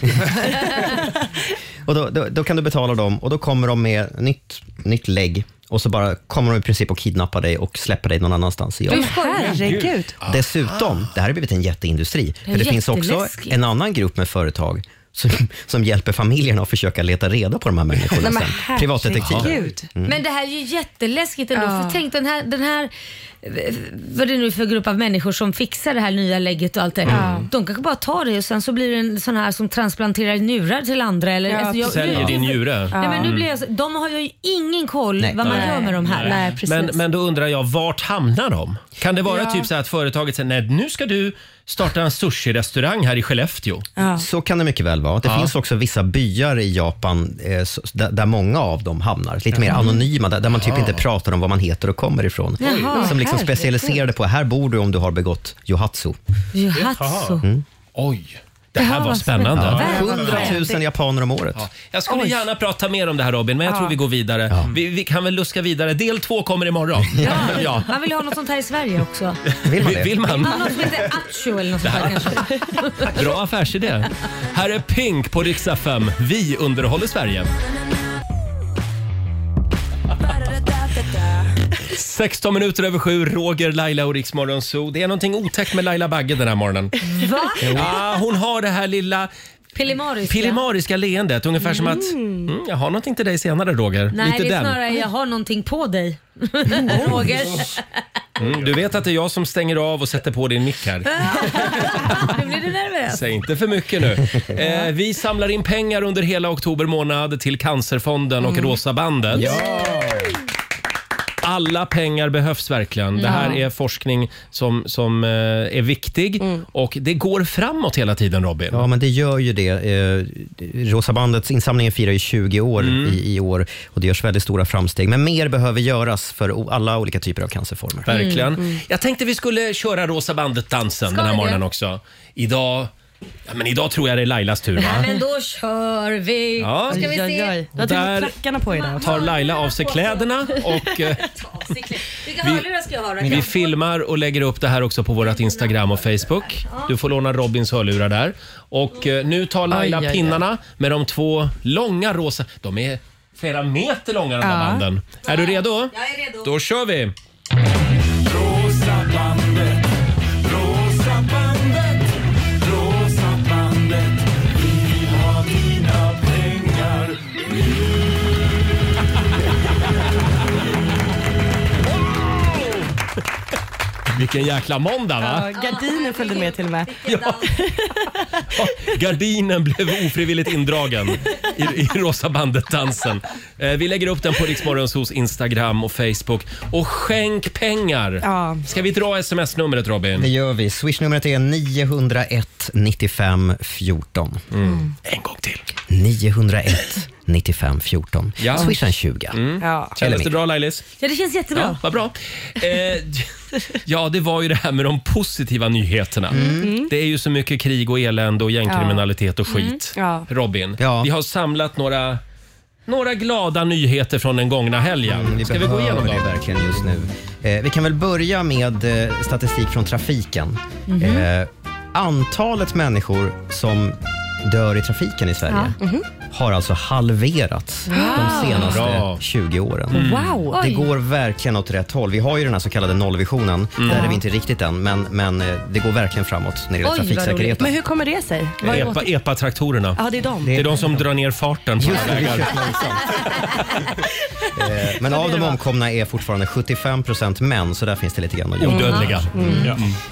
Och då, då, då kan du betala dem och då kommer de med nytt, nytt lägg och så bara kommer de i princip att kidnappa dig och släppa dig någon annanstans i jobbet. herregud. Dessutom, det här har blivit en jätteindustri. Det är För det finns också jätteläskigt. en annan grupp med företag som, som hjälper familjerna att försöka leta reda på de här människorna Nej, men sen. Privatdetektiver. herregud. Mm. Men det här är ju jätteläskigt ändå. För tänk den här, den här, eh, vad det nu är för grupp av människor som fixar det här nya lägget och allt det. Mm. De kanske bara tar det och sen så blir det en sån här som transplanterar njurar till andra. Eller, Ja, alltså, jag- Säljer nu- din njure. Nej, men nu Mm. blir jag, så- de har ju ingen koll vad man Nej. gör med de här. Nej. Mm. men, men då undrar jag, vart hamnar de? Kan det vara Ja. typ så här att företaget säger, nej nu ska du starta en sushi-restaurang här i Skellefteå? Så kan det mycket väl vara. Det Ja. finns också vissa byar i Japan eh, s- där, där många av dem hamnar. Lite mer Jaha. anonyma, där, där man typ Jaha. inte pratar om vad man heter och kommer ifrån. Jaha, som liksom herregud. specialiserade på, här bor du om du har begått yohatsu. Johatsu. Mm. Oj. Det här var spännande. Ja. 100 000 japaner om året. Jag skulle Oj. gärna prata mer om det här Robin, men jag Ja. tror vi går vidare. Vi, vi kan väl luska vidare. Del två kommer imorgon. Ja. Mm. Man vill ju ha något sånt här i Sverige också. Vill man det? Vill man? Ja, något som heter Acho eller något sånt där kanske. Bra affärsidé. Här är Pink på riksdag 5. Vi underhåller Sverige. 16 minuter över sju, Roger, Laila och Riksmorgon Zoo. Det är någonting otäckt med Laila Bagge den här morgonen. Va? Ja, hon har det här lilla Pillemariska. pillemariska leendet, ungefär som att Mm. mm, jag har någonting till dig senare Roger. Nej, Lite det är den. Oh. snarare jag har någonting på dig. Roger. Mm, du vet att det är jag som stänger av och sätter på din mick här. Nu blir du nervös. Säg inte för mycket nu. Eh, vi samlar in pengar under hela oktober månad till Cancerfonden och Mm. Rosa bandet. Alla pengar behövs verkligen. Det här Ja. är forskning som, som eh, är viktig och det går framåt hela tiden, Robin. Ja, men det gör ju det. Eh, Rosa bandets insamlingen firar ju 20 år i, i år och det görs väldigt stora framsteg. Men mer behöver göras för o- alla olika typer av cancerformer. Verkligen. Jag tänkte vi skulle köra Rosa bandet-dansen den här vi morgonen det? också. Idag Ja, men idag tror jag det är Lailas tur Ja, va? men då kör vi. Ja. Då ska vi Oj, oj, se. oj. Du har till och med Där klackarna på idag. tar Laila av sig kläderna och, eh, Ta sig klä- Vilka vi- hörlurar ska jag ha? då? Kan Vi jag- filmar och lägger upp det här också på vårt Instagram och Facebook. Du får låna Robins hörlurar där. Och eh, nu tar Laila Aj, aj, aj. pinnarna med de två långa rosa... De är flera meter långa de här Ja. banden. Är du redo? Jag är redo. Då kör vi! Rosa bandet, rosa bandet, rosa bandet. Vi vill ha dina pengar nu. Vilken jäkla måndag va? Ja, gardiner följde med till och med. Gardinen blev ofrivilligt indragen i, i Rosa bandet-dansen. Eh, vi lägger upp den på Riksmorgons hos Instagram och Facebook. Och skänk pengar! Ja. Ska vi dra sms-numret Robin? Det gör vi. Swishnumret är 901 95 14. En gång till. 901 95 14. Ja. Swisha en 20. Mm. Ja. Kändes det bra Lailis? Ja, det känns Ja, jättebra. vad bra. Eh, ja, det var ju det här med de positiva nyheterna. Mm. Det är ju så mycket krig och elände och gängkriminalitet och skit. Ja. Robin, vi har samlat några, några glada nyheter från den gångna helgen. Mm, Ska vi gå igenom behöver dem? det verkligen just nu. Eh, vi kan väl börja med eh, statistik från trafiken. Mhm. Eh, antalet människor som dör i trafiken i Sverige Ja. Mhm. har alltså halverats Wow. de senaste Bra. 20 åren. Mm. Wow. Det Oj. går verkligen åt rätt håll. Vi har ju den här så kallade nollvisionen. Mm. Där är vi inte riktigt än, men, men eh, det går verkligen framåt när det gäller trafiksäkerheten. Men hur kommer det sig? Vad är Epa, åter- EPA-traktorerna. Ja, det är de. Det är de som drar ner farten på Just det, vi vägar. kör Eh, Men av de omkomna är fortfarande 75 män, så där finns det lite grann att göra. Odödliga. Mm.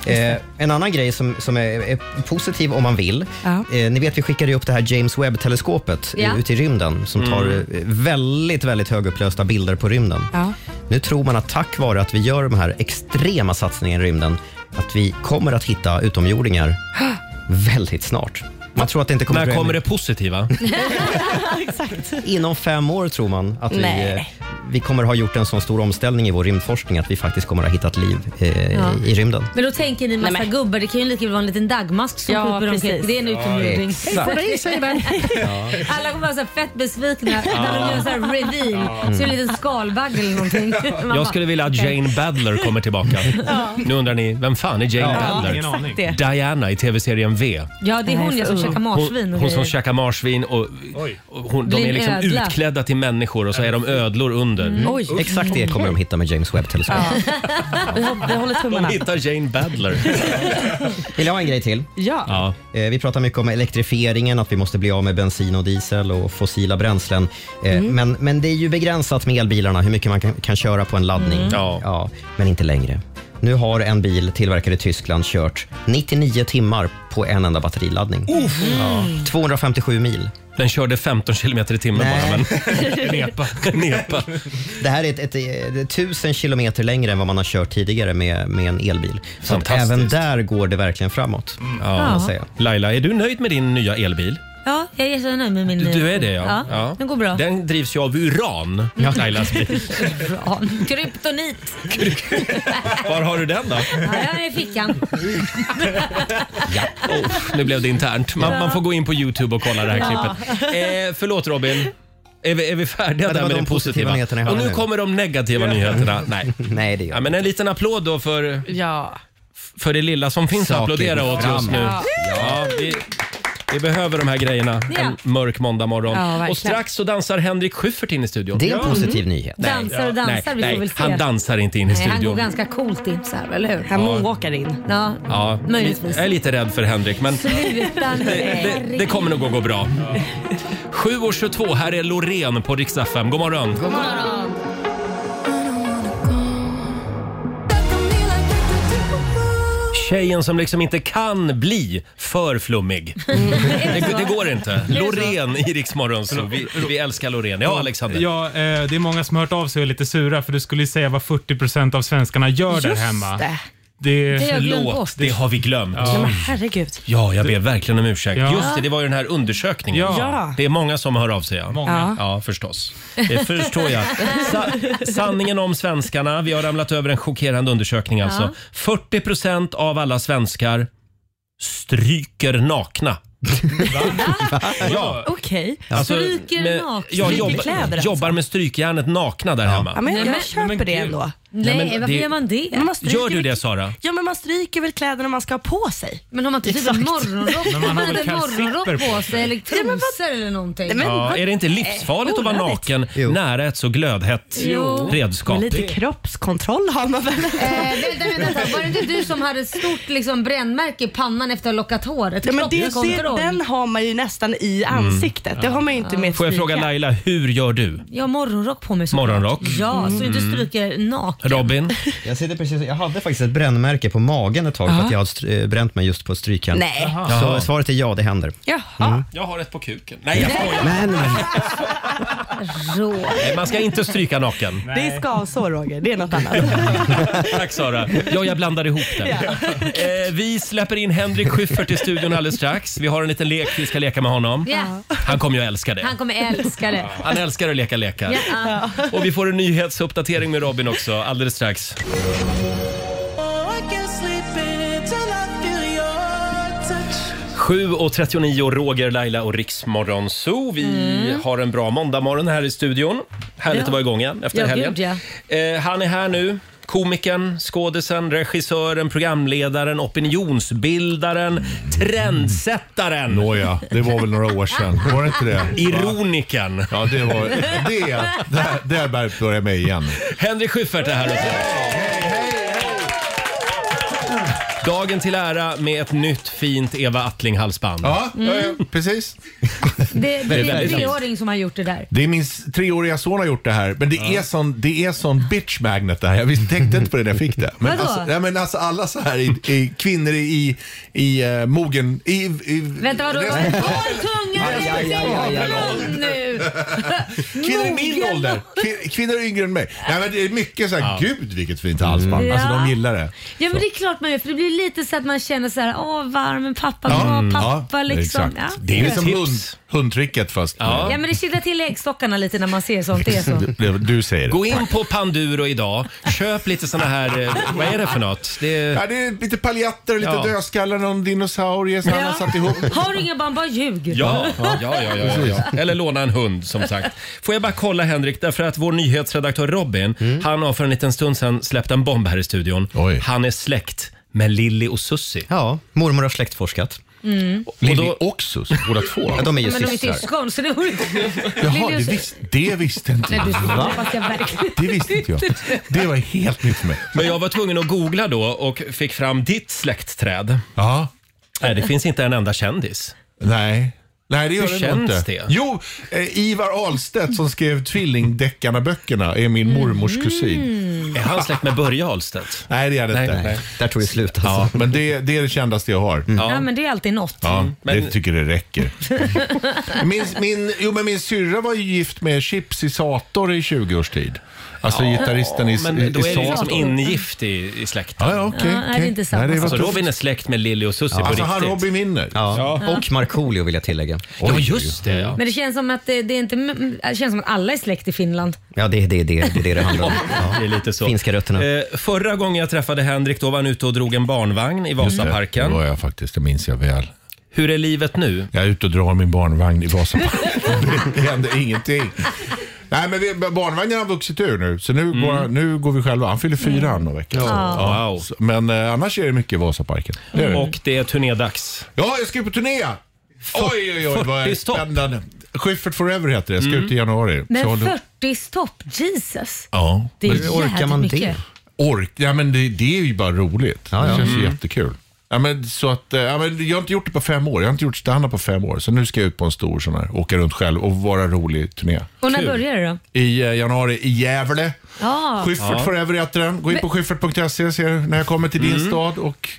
Ja. Eh, en annan grej som, som är, är positiv om man vill. Ja. Eh, ni vet, vi skickade ju upp det här James Webb-teleskopet Ja. ja. ut i rymden som tar Mm. eh, väldigt, väldigt högupplösta bilder på rymden. Ja. Nu tror man att tack vare att vi gör de här extrema satsningarna i rymden, att vi kommer att hitta utomjordingar väldigt snart. Man tror att det inte kommer När dröja kommer mycket. det positiva? Exakt. Inom fem år tror man att vi, Nej. eh, vi kommer ha gjort en sån stor omställning i vår rymdforskning att vi faktiskt kommer ha hittat liv eh, Ja. i rymden. Men då tänker ni massa gubbar, det kan ju lika väl vara en liten dagmask som Ja, kryper omkring. precis. Det är en Ja, utomjording. exakt. Hej på dig, säger den. Alla kommer vara så här fett besvikna när de gör så här reveal. Ja. Så är det en liten skalbagge eller någonting. Man bara, Jag skulle vilja att okej. Jane Badler kommer tillbaka. Ja. Nu undrar ni, vem fan är Jane Ja, Badler? ingen aning. Diana i tv-serien V. Ja, det är hon ja som käkar marsvin Hon, och hon som grejer. käkar marsvin och, och hon, de Blir är en liksom ödla. utklädda till människor och så är de ödlor under. Mm. Oj. Exakt det kommer de hitta med James Webb-teleskopet. Vi hå- vi håller tummarna. De hittar Jane Badler. Vill jag ha en grej till? Ja. Eh, Vi pratar mycket om elektrifieringen, att vi måste bli av med bensin och diesel och fossila bränslen. Eh, Mm. Men, men det är ju begränsat med elbilarna, hur mycket man kan, kan köra på en laddning. Mm. Ja. men inte längre. Nu har en bil tillverkad i Tyskland kört 99 timmar på en enda batteriladdning. Ja. Mm. 257 mil. Den körde 15 kilometer i timmen bara. Men... En epa. En epa. Det här är ett, ett, eh, det är 1000 kilometer längre än vad man har kört tidigare med, med en elbil. Så att Fantastiskt. Mm. även där går det verkligen framåt. Ja. kan man säga. Laila, är du nöjd med din nya elbil? Ja, jag är så nöjd med min Du, nya. du är det ja. ja. Den går bra. Den drivs ju av uran, Lailas bil. Bra. Kryptonit. Var har du den då? Ja, jag är i fickan. Oh, nu blev det internt. Man, Ja. man får gå in på Youtube och kolla det här Ja. klippet. Eh, förlåt Robin. Är vi, är vi Ja, färdiga det där var med de det positiva positiva? nyheterna jag och hade nu nu. kommer de negativa nyheterna. Nej. Nej, det gör ja, men En liten applåd då för, Ja. för det lilla som finns att Saker applådera går åt just framåt. nu. Ja. Ja, vi, vi behöver de här grejerna Ja. en mörk måndag morgon. Ja, verkligen. och strax så dansar Henrik Schyffert in i studion. Det är en positiv nyhet. Nej, Dansar och dansar, nej, vi får nej, väl se. Han dansar inte in i Nej, han går studion. ganska coolt in så här, eller hur? Han Ja. moonwalkar in. Ja, Ja, möjligtvis. jag är lite rädd för Henrik, men Sluta nu. det, det, det kommer nog att gå bra. 7.22, här är Loreen på Rix FM. God morgon. God morgon. Tjejen som liksom inte kan bli för flummig. Det, det går inte. Loreen i Rix Morgon Zoo. vi, vi älskar Loreen. Ja, Alexander. Ja, eh, det är många som har hört av sig och är lite sura för du skulle ju säga vad 40 av svenskarna gör där Just hemma. det. Det, Det har jag glömt Förlåt, bort. det har vi glömt. Ja. Nej, men herregud. Ja, jag ber verkligen om ursäkt. Ja. Just det, det var ju den här undersökningen. Ja. Ja. Det är många som hör av sig. Ja, Många. ja förstås. Det förstår jag. Sa sanningen om svenskarna. Vi har ramlat över en chockerande undersökning alltså. 40 procent av alla svenskar stryker nakna. Ja. Okej. Alltså, Stryker med- nakna. Jag Stryker jobba, kläder alltså. jobbar med strykjärnet nakna där hemma. Ja, men jag köper det ändå. Nej, men det- det? Men man stryker Gör du väl- det Sara? Ja, men man stryker väl kläderna man ska ha på sig? Men har man inte typ en morgonrock, Men man har man väl hade en morgonrock kalsipper på på sig eller trosor eller någonting? ja, är det inte livsfarligt att vara naken nära ett så glödhett Jo. redskap? Men lite kroppskontroll har man väl? Eh, vänta, vänta, vänta. Var det inte du som hade ett stort liksom, brännmärke i pannan efter att ha lockat håret? Ja, men det, det, Kroppskontroll. den har man ju nästan i ansiktet. Det har man ju inte med Mm. Får jag stryk fråga här. Laila, hur gör du? Jag har morgonrock på mig såklart. Morgonrock? Ja, så inte Mm. stryker naken. Robin? Jag, sitter precis, jag hade faktiskt ett brännmärke på magen ett tag för Ja. att jag hade str- eh, bränt mig just på ett strykjärn. Nej. Så Jaha. svaret är ja, det händer. Mm. Jag har ett på kuken. Nej, jag skojar. Men, Nej, man ska inte stryka naken. Det är skavsår Roger, det är något annat. Tack Sara. Ja, jag blandade ihop det. Eh, vi släpper in Henrik Schyffert i studion alldeles strax. Vi har en liten lek vi ska leka med honom. Ja. Han kommer ju att älska det. Han kommer älska det. Han älskar att leka lekar. Ja. Och vi får en nyhetsuppdatering med Robin också alldeles strax. touch. 7.39 Roger, Laila och Riksmorgon Zoo. Vi har en bra måndagmorgon här i studion. Härligt Mm. Ja. att vara igång igen efter Ja, helgen. gud, ja. Eh, han är här nu. Komikern, skådisen, regissören, programledaren, opinionsbildaren, trendsättaren. Nåja, det var väl några år sedan. Var det inte det? Ironiken. Ja, det var det. Där, där bär- börjar jag mig igen. Henrik Schyffert är här också. Dagen till ära med ett nytt fint Eva Attling-halsband. Ja, ja, ja, precis. Det, Det är det är en väldigt treåring som har gjort det där. Det är min s- treåriga son har gjort det här, men det, är, sån, det är sån bitch magnet det här. Jag visste- tänkte inte på det när jag fick det. Men Vadå? alltså, nej, men alltså alla så här i, i, kvinnor i, i eh, mogen... I, i, Vänta vadå? Håll tungan Aj, aj, aj, aj, aj. Lugn nu! Kvinnor i min Mogen. ålder. Kvin- Kvinnor yngre än mig. Nej, men det är mycket så här, gud vilket fint halsband. Mm. Alltså Ja. de gillar det. Ja men det är klart man gör för det blir lite så att man känner så här, åh varm en pappa, Mm, åh pappa liksom. Ja. Exakt. Det är ju som hund, hundtricket fast. Ja men det kittlar till i äggstockarna lite när man ser sånt. Det är så. Du, du säger det. Gå in på Panduro idag, köp lite såna här, eh, vad är det för något? Det är, Ja, det är lite paljetter, lite Ja. dödskallar, någon dinosaurie som han har satt ihop. Har du inga barn, bara ljug. Ja, ja, ja, ja, ja, ja. Precis. Eller låna en hund som sagt. Får jag bara kolla Henrik, därför att vår nyhetsredaktör Robin, han har för en liten stund sedan släppt en bomb här i studion. Han är släkt med Lilly och Susie. ja, mormor har släktforskat. Mm. Lilly och Sus, båda två? Ja, de är ju men de är systrar. syskon så det vore... Jaha, det, vis, det visste inte Nej, du jag. Va? hoppas jag verkligen Det visste inte jag. Det var helt nytt för mig. Men jag var tvungen att googla då och fick fram ditt släktträd. Ja. Nej, det finns inte en enda kändis. Nej. Nej, det gör Hur det känns inte. det? Jo, eh, Ivar Ahlstedt som skrev Tvillingdeckarna-böckerna är min mormors kusin. Är han släkt med Börje Ahlstedt? Nej, det är det inte. Där tog det slut alltså. Ja, men det, det är det kändaste jag har. Mm. Ja men det är alltid något. Ja, det tycker det räcker. Min, min, jo, men min syrra var ju gift med Chips i Sator i 20 års tid. Alltså gitarristen i, men i, då är det Sator. ju liksom ingift i, i släkten. Ja, ja, okej, Ja, nej, okej. det är inte samma Nej, det var alltså, tufft. Robin är släkt med Lilly och Susie Ja. på Alltså, riktigt. han Robin vinner. Ja. Ja. Och Markoolio vill jag tillägga. Ja, just det. Ja. Men det känns som att det, det är inte... Det känns som att alla är släkt i Finland. Ja, det är det det, det, är det, det handlar om. Det är lite så. Finska rötterna. Eh, förra gången jag träffade Henrik då var han ute och drog en barnvagn i Just det, Vasaparken. Det var jag faktiskt, det minns jag väl. Hur är livet nu? Jag är ute och drar min barnvagn i Vasaparken. det händer ingenting. Nej, men vi, barnvagnen har vuxit ur nu, så nu, går, nu går vi själva. Han fyller fyra han om veckan. Ja. Mm. Ja. Så- Men eh, annars är det mycket i Vasaparken. Det är det. Och det är turnédags. Ja, jag ska ju på turné! Oj, oj, oj, vad 40 stopp. spännande. Schyffert Forever heter det. Jag ska ut i januari. Så Men håller- 40 stopp, Jesus. Ja. Det är jävligt mycket. Ork, ja, men det, det är ju bara roligt. ja. Det känns ju Mm. jättekul. Ja, men, så att, eh, ja, men, jag har inte gjort det på fem år. Jag har inte gjort standup på fem år. Så nu ska jag ut på en stor sån här, åka runt själv och vara rolig turné. Och när börjar det då? I eh, januari i Gävle. Ja. Schyffert Forever heter den. Gå in Men- på schyffert.se ser när jag kommer till din stad och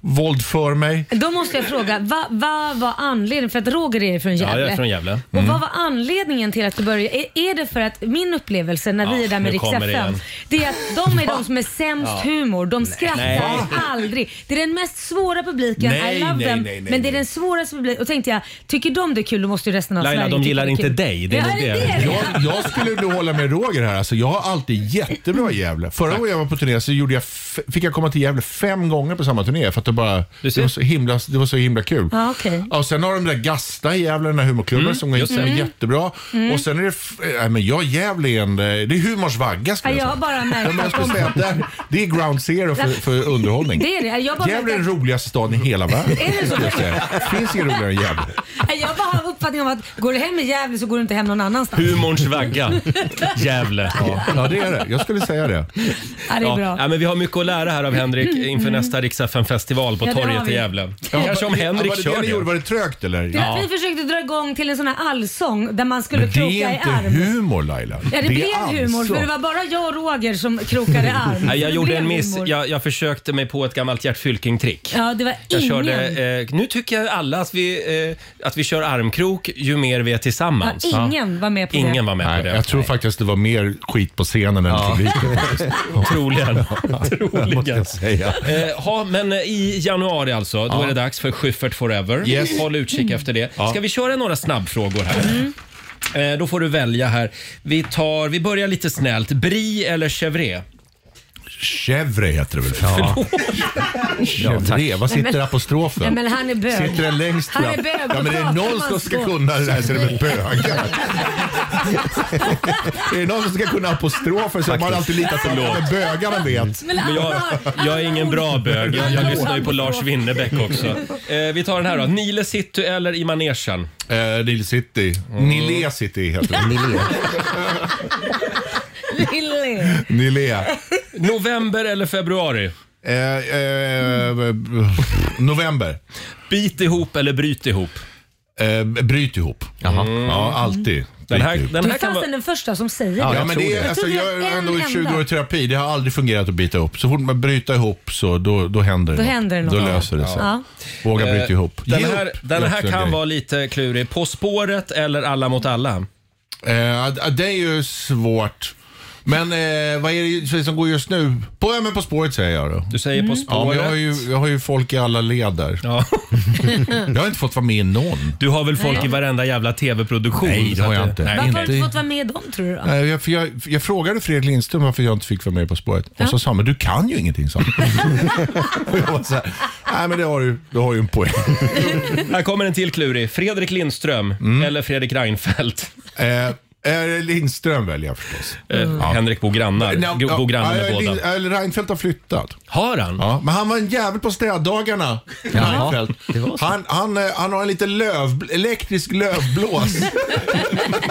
våldför mig. Då måste jag fråga, vad vad var anledningen? För att Roger är från Gävle. Gävle. Mm. Och vad var anledningen till att du började? Är, är det för att min upplevelse när vi Ja, är där med nu Rix kommer det FM, igen. det är att de är de som är sämst Ja. humor. De skrattar Nej. aldrig. Det är den mest svåra publiken. Nej, I love nej, them. nej, nej, men det är den svåraste publiken. Och tänkte jag, tycker de det är kul då måste ju resten av Laila, Sverige de tycka gillar det är inte kul. dig. Det är ja, nog det. Jag, jag skulle nog hålla med Roger här. Alltså, jag har alltid jättebra i Gävle. Förra gången jag var på turné så gjorde jag f- fick jag komma till Gävle fem gånger på samma turné för att de bara, det var så himla, det var så himla kul. Ja, okej. Ja, och sen har de den där Gasta i Gävle, den där humorklubben som går Mm, just som är det. jättebra. Mm. Och sen är det, f- äh, men jag Gävle är en, eh, det är humorns vagga Ja, skulle jag jag har bara Ja, märkt men jag att skulle säga att de... där, det är ground zero för, för underhållning. Det är det. Jag bara Gävle är den märkte- roligaste staden i hela världen. Är det så? skulle jag säga. Det finns inget roligare än Gävle. Nej, Jag bara har uppfattningen om att går du hem i Gävle så går du inte hem någon annanstans. Humorns vagga. Gävle. Ja. ja, det är det. Jag skulle säga det. Ja, det är bra. Mm. Ja, men vi har mycket att lära här av Henrik inför nästa Rix festival på Ja, det har torget i vi. Gävle. Ja, Kanske om vad- Henrik vad det kör ni gjorde? Var det trögt eller? Du vet, Vi försökte dra igång till en sån här allsång där man skulle Men det kroka i är inte arm. humor Laila. Ja, det, är alltså- blev humor ansvar. för det var bara jag och Roger som krokade arm. Nej, jag Det gjorde blev en miss. humor. Jag, jag försökte mig på ett gammalt Gert Fylking-trick. Ja, det var Jag ingen. körde, eh, nu tycker jag alla att vi, eh, att vi kör armkrok ju mer vi är ja, tillsammans. ingen var med på det. Ingen var med på det. Jag tror faktiskt det var mer skit på scenen än Ja. publiken. Troligen. måste Troligen. jag säga. Eh, ha, men eh, i januari alltså, då Ja. är det dags för Schyffert Forever. Yes. Håll utkik efter det. Ja. Ska vi köra några snabbfrågor här? Mm. Eh, då får du välja här. Vi, tar, vi börjar lite snällt. Brie eller Chevret? Chevre heter det väl? Ja. Chevre, vad Nej, sitter men- apostrofen? Nej, men han är bög. Sitter den längst Han fram? är bög och Ja, men är det pratar någon man som så. ska kunna det här så är det väl bögar? är det någon som ska kunna apostrofer så har man alltid litat på att bögarna vet. Men Men jag, Ah. jag är ingen bra bög. Jag, jag lyssnar ju på Lars Winnerbäck också. Eh, vi tar den här då. Nile City eller i manegen? Eh, Nile City. Nile City heter det. Nile. Lille. November eller februari? Eh, november. Eh, Bit ihop eller bryt ihop? bryt ihop. Mm. Ja, alltid. Den här, Bryt ihop. den Du är här kan vara... fasen den första som säger Ja, det. men det är, Jag alltså, tror vi jag har är en ändå i enda. 20 år i terapi. Det har aldrig fungerat att bita ihop. Så fort man bryter ihop så då, då händer det Då något. händer det något. Då löser det sig. Ja. Våga bryta Eh, ihop. Den Ge här, upp. den Det är här också en kan grej. vara lite klurig. På spåret eller Alla mot alla? Eh, det är ju svårt. Men eh, vad är det som går just nu? På, ja, men på spåret säger jag då. Du säger På Ja, men jag, har spåret. ju, jag har ju folk i alla led där. Ja. jag har inte fått vara med i någon. Du har väl folk Nej. i varenda jävla tv-produktion? Nej, det så har att jag inte. Nej, Varför har du inte- inte fått vara med i dem tror du då? Nej, jag, för jag, jag frågade Fredrik Lindström varför jag inte fick vara med På spåret. Och så sa han, men du kan ju ingenting. Sa han. och jag var så här, nej men det har du, du har ju en poäng. Här kommer en till klurig. Fredrik Lindström Mm. eller Fredrik Reinfeldt? Eh, eh, Lindström väljer jag förstås. Eh, Henrik bor grannar. Nej, Go- bor granne med eh, Lind- båda. eh, Reinfeldt har flyttat. Har han? Ja, men han var en jävel på städdagarna. Reinfeldt. Han, han, eh, han har en liten löv, elektrisk lövblås.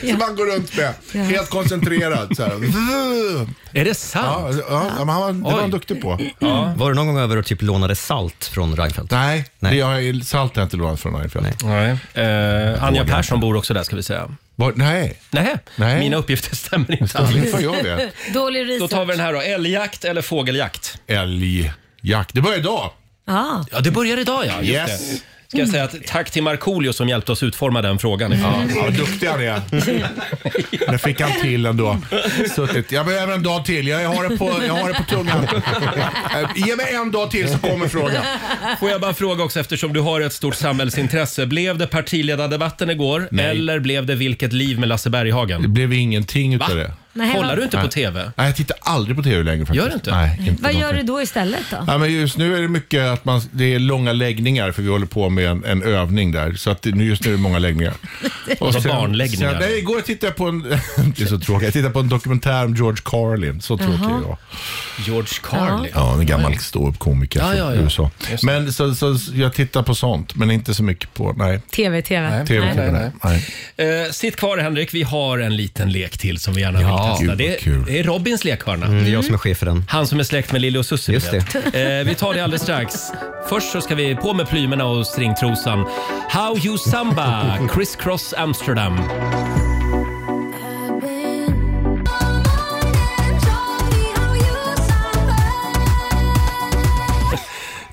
Som han går runt med. Helt koncentrerad. Så här. Är det sant? Ja, ja, men han, var- det var han duktig på. Var du någon gång över och typ lånade salt från Reinfeldt? Nej, Nej. Det jag är salt har jag inte lånat från Reinfeldt. Nej. Nej. Eh, Anja Persson bor också där ska vi säga. Var, nej. Nej, Nej. mina uppgifter stämmer inte alls. Varför gör jag det? Dålig Då research. tar vi den här då. Älgjakt eller fågeljakt? Älgjakt. Det börjar idag. Ja. Ja, det börjar idag ja. Just Yes. det. Ska jag säga att tack till Markoolio som hjälpte oss utforma den frågan. Ja, ja, vad duktig han är. Det fick han till ändå. Suttit. Jag behöver en dag till. Jag har det på, jag har det på tungan. Eh, Ge mig en dag till så kommer frågan. Får jag bara fråga också eftersom du har ett stort samhällsintresse. Blev det partiledardebatten igår eller blev det Vilket liv med Lasse Det Berghagen? blev ingenting utav det. Nej, Kollar vad- du inte på TV? Nej, jag tittar aldrig på TV längre faktiskt. Gör du inte? Nej, inte Vad gör någonting. du då istället då? Ja, men just nu är det mycket att man, det är långa läggningar för vi håller på med en, en övning där. Så att det- nu- just nu är det många läggningar. Och Vadå barnläggningar? Sen, nej, igår tittade jag på en, det är så tråkigt, jag tittade på en dokumentär om George Carlin. Så tråkig är jag. George Carlin? Ja, en gammal ståuppkomiker Ja, från ja, ja. USA. Men så, så, så jag tittar på sånt, men inte så mycket på, nej. TV, TV. TV, nej, nej. nej. Eh, sitt kvar Henrik, vi har en liten lek till som vi gärna Ja. vill testa. Gud, vad Det är, kul. det är Robins lekhörna. Mm, det är jag som är chef för den. Han som är släkt med Lille och Susie. Just du vet. Eh, vi tar det alldeles strax. Först så ska vi på med plymerna och stringtrosan. How you samba, Criss Cross Amsterdam.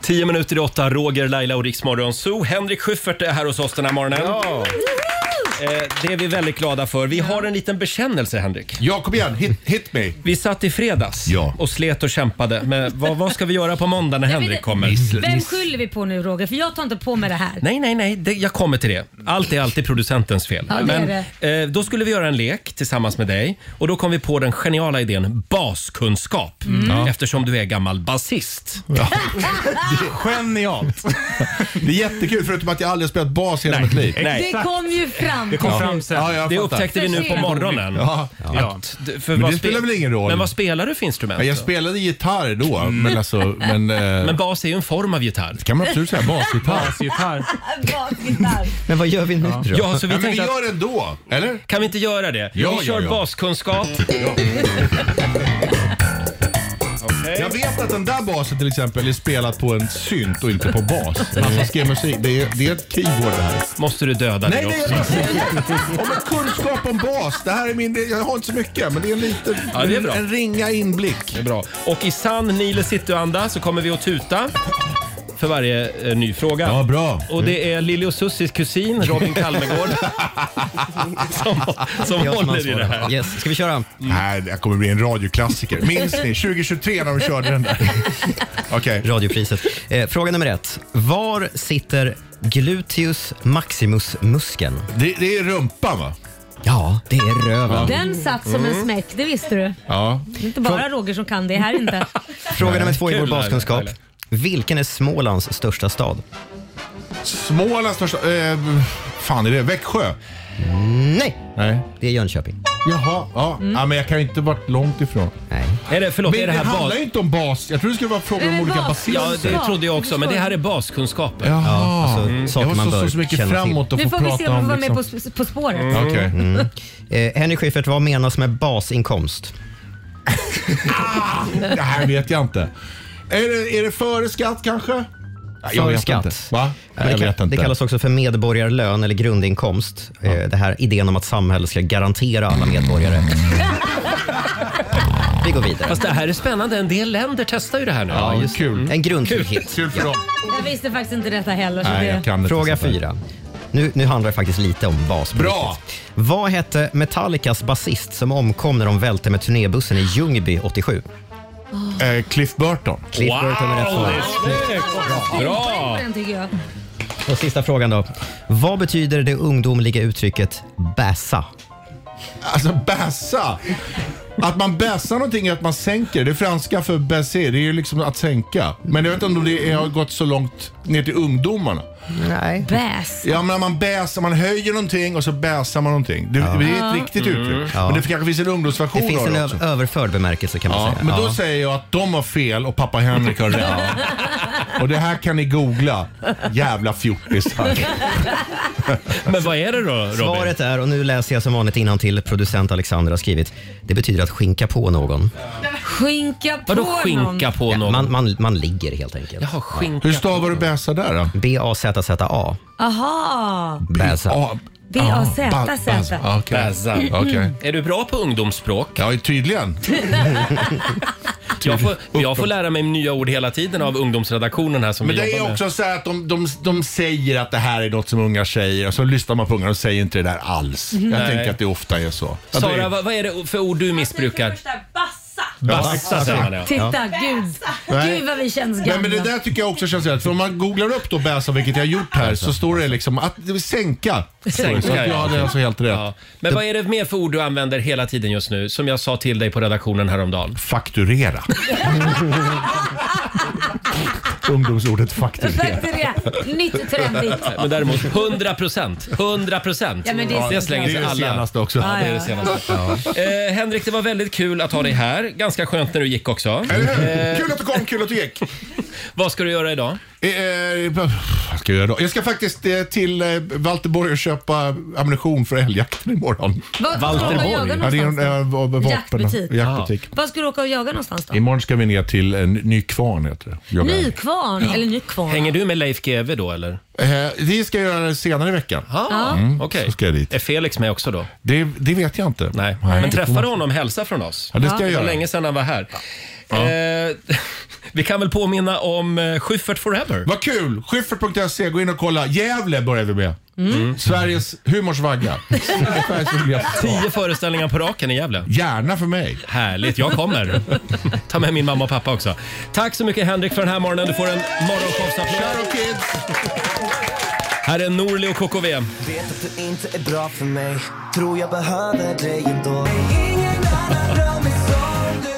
Tio minuter i åtta, Roger, Laila och Riksmorgon Zoo. Henrik Schyffert är här hos oss den här morgonen. Eh, Det är vi väldigt glada för. Vi har en liten bekännelse, Henrik. Ja, kom igen. Hit, me. Vi satt i fredags och slet och kämpade. Men vad, vad ska vi göra på måndag när Henrik kommer? Vem skyller vi på nu Roger? För jag tar inte på mig det här. Nej, nej, nej. Det, jag kommer till det. Allt är alltid producentens fel. Ja, det är Men eh, då skulle vi göra en lek tillsammans med dig och då kom vi på den geniala idén baskunskap. Mm. Ja. Eftersom du är gammal basist. Genialt. Det är jättekul förutom att jag aldrig har spelat bas hela mitt liv. Det kom ju fram. Ja, jag det fattar. upptäckte vi nu på morgonen. Ja. Att, för Men vad det spe- spelar väl ingen roll? Men vad spelar du för instrument? Ja, jag då? spelade gitarr då, men alltså... Men, Mm. Men bas är ju en form av gitarr. Det kan man absolut säga. Basgitarr. Basgitarr. Men vad gör vi nu då? Ja, så vi Ja, men vi tänkte att- gör det ändå, eller? Kan vi inte göra det? Ja, vi ja, kör ja. baskunskap. Jag vet att den där basen till exempel är spelad på en synt och inte på bas. Han som skrev musik, det är, det är ett keyboard det här. Måste du döda Nej, det nej, också? jag bara- Om en kunskap om bas. Det här är min, jag har inte så mycket, men det är en liten, Ja, det är bra. en ringa inblick. Det är bra. Och i sann Nile City-anda så kommer vi att tuta för varje eh, ny fråga. Ja, bra. Mm. Och det är Lili och Sussies kusin Robin Kalmegård som, som Jag som håller i det här. ansvarar. Yes. Ska vi köra? Nej, det här kommer bli en radioklassiker. Minns ni 2023 när de körde den där? Okej. Radiopriset. Eh, fråga nummer ett. Var sitter gluteus maximus-muskeln? Det, är rumpan, va? Ja, det är röven. Den satt som en smäck, det visste du. Mm. Ja. Det är inte bara Roger som kan det här inte. Fråga nummer två i vår Kul, baskunskap. Laila. Vilken är Smålands största stad? Smålands största... Eh, fan, är det Växjö? Nej. Nej. Det är Jönköping. Jaha, ja. Mm. ja men jag kan ju inte varit långt ifrån. Nej. Är det, förlåt, men är det här handlar bas? ju inte om bas. Jag trodde det skulle vara fråga om olika basister. Ja, det trodde jag också, men det här är baskunskaper. Jaha. alltså, Mm. saker jag man var bör så, så mycket känna till. framåt och Nu få får vi se prata om vi om... får vara med liksom. på, s- på spåret. Mm. Okej. Mm. Eh, Henry Schyffert, vad menas med basinkomst? Det här vet jag inte. Är det, är det före skatt kanske? Nej, jag Före vet skatt. inte. Va? Men Nej, jag det, vet kan, inte. det kallas också för medborgarlön eller grundinkomst. Eh, Det här idén om att samhället ska garantera alla medborgare. Vi går vidare. Fast det här är spännande. En del länder testar ju det här nu. Ja, just det. Mm. En grundtrygghet. Ja. Jag visste faktiskt inte detta heller. Så det... Fråga fyra. Nu, nu handlar det faktiskt lite om bas. på Bra! riktigt. Vad hette Metallicas basist som omkom när de välte med turnébussen i Ljungby 87? Eh, Cliff Burton. Cliff Burton är rätt svar. Bra! Bra. på den tycker jag. Och sista frågan då. Vad betyder det ungdomliga uttrycket bäsa? Alltså bäsa. Att man bäsar någonting är att man sänker. Det är franska för bässer. Det är ju liksom att sänka. Men jag vet inte om det är- har gått så långt ner till ungdomarna. Nej. Bäs. Ja, men man bäsar, man höjer någonting och så bäsar man någonting. Det, det är ett riktigt Mm. uttryck. Ja. Men det kanske finns en ungdomsversion Det finns av en det också. ö- överförd bemärkelse kan man Ja, säga. men då Ja. säger jag att de har fel och pappa Henrik har rätt. Och det här kan ni googla. Jävla fjortisar. Men vad är det då, Robin? Svaret är, och nu läser jag som vanligt till producent Alexander har skrivit, det betyder att skinka på någon. Skinka på någon. Ja, Man, man, man ligger helt enkelt. Jaha, Hur stavar du bäsa där då? B-A-Z-Z-A. Aha. Bäsa. B-A-Z-Z. Alltså. Bäsa. Okej. Är du bra på ungdomsspråk? Ja, tydligen. jag, får, jag får lära mig nya ord hela tiden av ungdomsredaktionen här som Men vi det jobbar är med. också så här att de, de, de säger att det här är något som unga säger och så lyssnar man på unga och säger inte det där alls. Jag Mm. Nej. tänker att det ofta är så. Att det Sara, är, vad, vad är det för ord du missbrukar? Bassa säger man ja. Titta, gud. Nej. Gud vad vi känns gamla. Nej, men det där tycker jag också känns rätt. För om man googlar upp då bäsa, vilket jag har gjort här, så står det liksom att det vill sänka. så att jag hade alltså helt rätt. Ja. Men vad är det mer för ord du använder hela tiden just nu? Som jag sa till dig på redaktionen häromdagen. Fakturera. Ungdomsordet fakturera. Fakturera. Nytt trendigt. Nej, Men däremot 100 procent. 100 procent. Ja, men det är så slänger bra. sig Det är det alla. senaste också. Ja, det är Ja, det ja. senaste. Eh, Henrik, det var väldigt kul att ha dig här. Ganska skönt när du gick också. Eh, Kul att du kom, kul att du gick. vad ska du göra idag? Eh, eh, vad ska jag göra då? Jag ska faktiskt eh, till eh, Valterborg och köpa ammunition för älgjakten imorgon. Vad- vad ska du jaga Ja, det är en någonstans eh, va- va- vapen, Jaktbutik. jaktbutik. Vad ska du åka och jaga någonstans då? Imorgon ska vi ner till eh, Nykvarn heter det. Jaga älg. Nykvarn eller Nykvarn? Hänger du med Leif GW då eller? Eh, det ska jag göra senare i veckan. Ja. Mm, Okej. Så ska jag dit. Är Felix med också då? Det, det vet jag inte. Nej. Men träffar du honom, hälsa från oss. Ja, det ska jag var göra. länge sedan han var här. Eh, vi kan väl påminna om eh, Schyffert Forever? Vad kul! Schyffert.se, gå in och kolla. Gävle börjar vi med. Mm. Sveriges humors vagga. Tio föreställningar på raken i Gävle. Gärna för mig. Härligt, jag kommer. Ta med min mamma och pappa också. Tack så mycket Henrik för den här morgonen. Du får en morgonshowsapplåd. Här är Norli och KKV. Vet att du inte är bra för mig. Tror jag behöver dig ändå.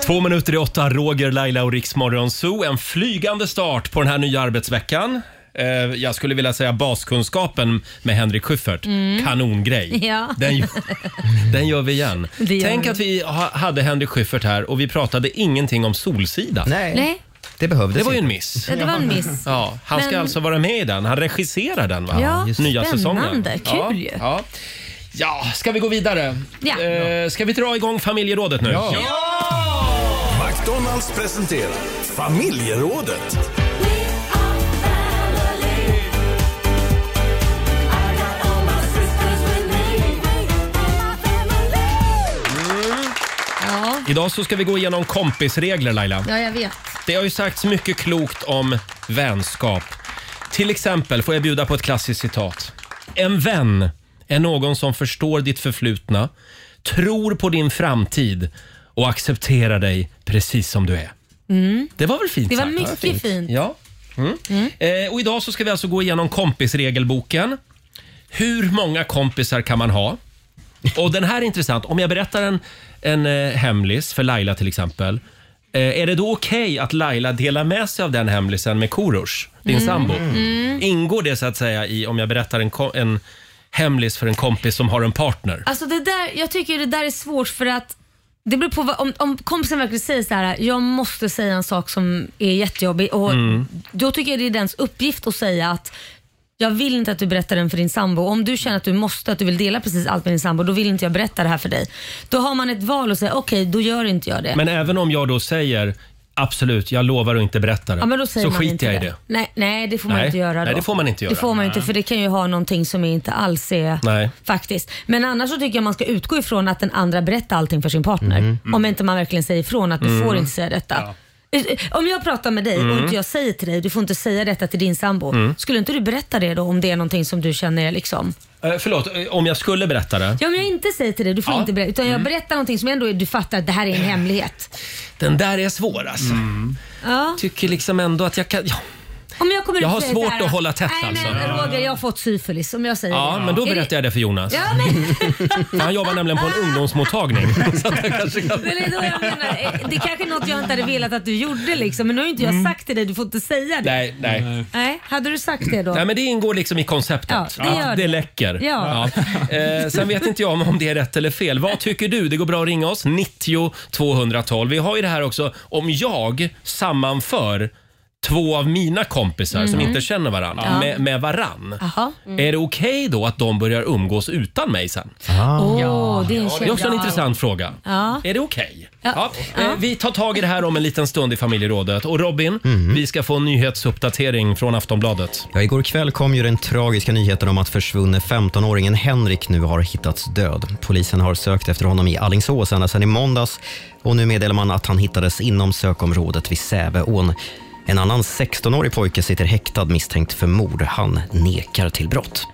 Två minuter i åtta, Roger, Laila och Riksmorgon Zoo. En flygande start på den här nya arbetsveckan. Eh, Jag skulle vilja säga baskunskapen med Henrik Schyffert. Mm. Kanongrej. Ja. Den, gör- den gör vi igen. Det gör Tänk vi. att vi ha, hade Henrik Schyffert här och vi pratade ingenting om Solsidan. Nej. Det behövdes Det var ju en inte. miss. Ja, det var en miss. Ja, han ska Men- alltså vara med i den. Han regisserar den va? Ja, just det. Nya säsongen. Spännande. Kul ju. ja, ja. ja, ska vi gå vidare? Ja. Eh, ska vi dra igång familjerådet nu? Ja. McDonalds presenterar Familjerådet. Ja. Idag så ska vi gå igenom kompisregler Laila. ja, jag vet. Det har ju sagts mycket klokt om vänskap. Till exempel får jag bjuda på ett klassiskt citat. En vän är någon som förstår ditt förflutna, tror på din framtid och accepterar dig precis som du är. Mm. Det var väl fint Det var sagt? mycket Ja, fint. fint. Ja. Mm. Eh, och idag så ska vi alltså gå igenom kompisregelboken. Hur många kompisar kan man ha? Och den här är intressant. Om jag berättar en, en eh, hemlis för Laila till exempel. Eh, är det då okej att Laila delar med sig av den hemlisen med Korosh, din Mm. sambo? Mm. Ingår det så att säga i om jag berättar en, ko- en hemlis för en kompis som har en partner? Alltså det där, jag tycker det där är svårt för att det beror på vad, om, om kompisen verkligen säger så här, jag måste säga en sak som är jättejobbig och Mm. då tycker jag det är dens uppgift att säga att jag vill inte att du berättar den för din sambo. Om du känner att du måste, att du vill dela precis allt med din sambo, då vill inte jag berätta det här för dig. Då har man ett val och säger okej, då gör inte jag det. Men även om jag då säger absolut, jag lovar att inte berätta det. Ja, men då säger så man skiter inte jag i det. det. Nej, nej, det får man Nej. inte göra då. Nej, det får man inte göra. Det får man inte Nej. för det kan ju ha någonting som inte alls är Nej. faktiskt. Men annars så tycker jag man ska utgå ifrån att den andra berättar allting för sin partner. Mm. Om inte man verkligen säger ifrån att du Mm. får inte säga detta. Eh, Om jag pratar med dig och Mm. inte jag säger till dig, du får inte säga detta till din sambo. Mm. Skulle inte du berätta det då om det är någonting som du känner är liksom? Eh, förlåt, eh, om jag skulle berätta det. Ja, om jag inte säger till dig, du får inte berätta. Utan jag Mm. berättar någonting som ändå är, du fattar att det här är en hemlighet. Den där är svår alltså. Mm. Ja. Tycker liksom ändå att jag kan... Ja. Om jag kommer ut Jag och har säger svårt så här, att hålla tätt Nej, alltså." men Roger, jag har fått syfilis om jag säger Ja, det. men då Är berättar jag det för Jonas. Ja, men, För han jobbar nämligen på en ungdomsmottagning. Så att jag kanske kan... men det, är då jag menar, eh, det är kanske är något jag inte hade velat att du gjorde liksom, men nu har ju inte jag sagt till dig, du får inte säga det. Mm. Nej, nej. Nej, hade du sagt det då? Nej, men det ingår liksom i konceptet. Ja, det gör Att det. läcker. Ja. Ja. Eh, sen vet inte jag om, om det är rätt eller fel. Vad tycker du? Det går bra att ringa oss. 90 212. Vi har ju det här också om jag sammanför två av mina kompisar som Mm. inte känner varandra Ja. med, med varann. Jaha. Är det okej då att de börjar umgås utan mig sen? Åh, det är Det en är också en känsla. intressant fråga. Ja. Är det okej? Ja. Ja. Eh, Vi tar tag i det här om en liten stund i familjerådet. Och Robin, vi ska få en nyhetsuppdatering från Aftonbladet. Ja, igår kväll kom ju den tragiska nyheten om att försvunne 15-åringen Henrik nu har hittats död. Polisen har sökt efter honom i Alingsås ända sedan i måndags och nu meddelar man att han hittades inom sökområdet vid Säveån. En annan 16-årig pojke sitter häktad misstänkt för mord. Han nekar till brott.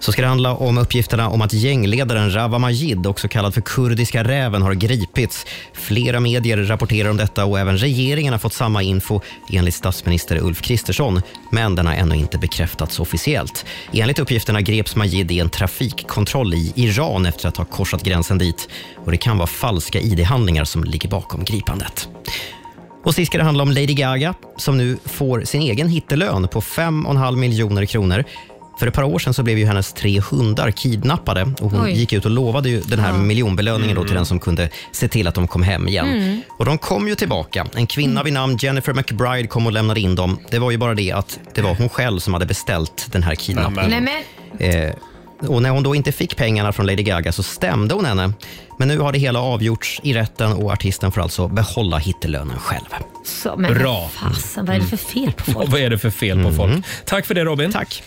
Så ska det handla om uppgifterna om att gängledaren Rawa Majid, också kallad för Kurdiska räven, har gripits. Flera medier rapporterar om detta och även regeringen har fått samma info enligt statsminister Ulf Kristersson, men den har ännu inte bekräftats officiellt. Enligt uppgifterna greps Majid i en trafikkontroll i Iran efter att ha korsat gränsen dit och det kan vara falska id-handlingar som ligger bakom gripandet. Och sist ska det handla om Lady Gaga som nu får sin egen hittelön på 5,5 miljoner kronor. För ett par år sedan så blev ju hennes tre hundar kidnappade och hon Oj. gick ut och lovade ju den här Ja. miljonbelöningen då till Mm. den som kunde se till att de kom hem igen. Mm. Och de kom ju tillbaka. En kvinna vid namn Jennifer McBride kom och lämnade in dem. Det var ju bara det att det var hon själv som hade beställt den här kidnappningen. Nej, men. Eh, och när hon då inte fick pengarna från Lady Gaga så stämde hon henne. Men nu har det hela avgjorts i rätten och artisten får alltså behålla hittelönen själv. Så, men Bra. Bra. Fasen, vad är det för Mm. fel på folk? Vad är det för fel på folk? Tack för det Robin. Tack.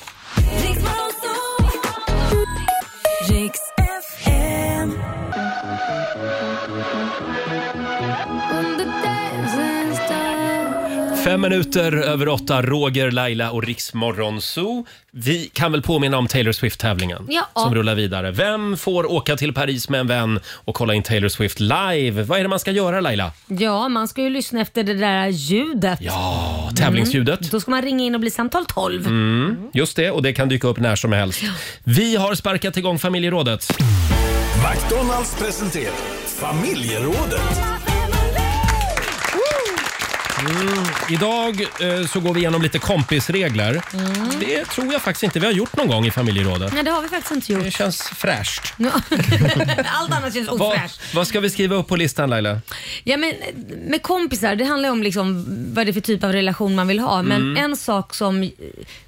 Fem minuter över åtta, Roger, Laila och Riksmorgon Zoo. Vi kan väl påminna om Taylor Swift-tävlingen Ja. som rullar vidare. Vem får åka till Paris med en vän och kolla in Taylor Swift live? Vad är det man ska göra Laila? Ja, man ska ju lyssna efter det där ljudet. Ja, tävlingsljudet. Mm. Då ska man ringa in och bli samtal 12. Mm, just det, och det kan dyka upp när som helst. Vi har sparkat igång familjerådet. McDonalds presenterar Familjerådet. Mm, idag eh, så går vi igenom lite kompisregler. Mm. Det tror jag faktiskt inte vi har gjort någon gång i familjerådet. Nej, det har vi faktiskt inte gjort. Det känns fräscht. Allt annat känns Vad, ofräscht. vad ska vi skriva upp på listan Laila? Ja, men med kompisar, det handlar om liksom vad det är för typ av relation man vill ha. Men Mm. en sak som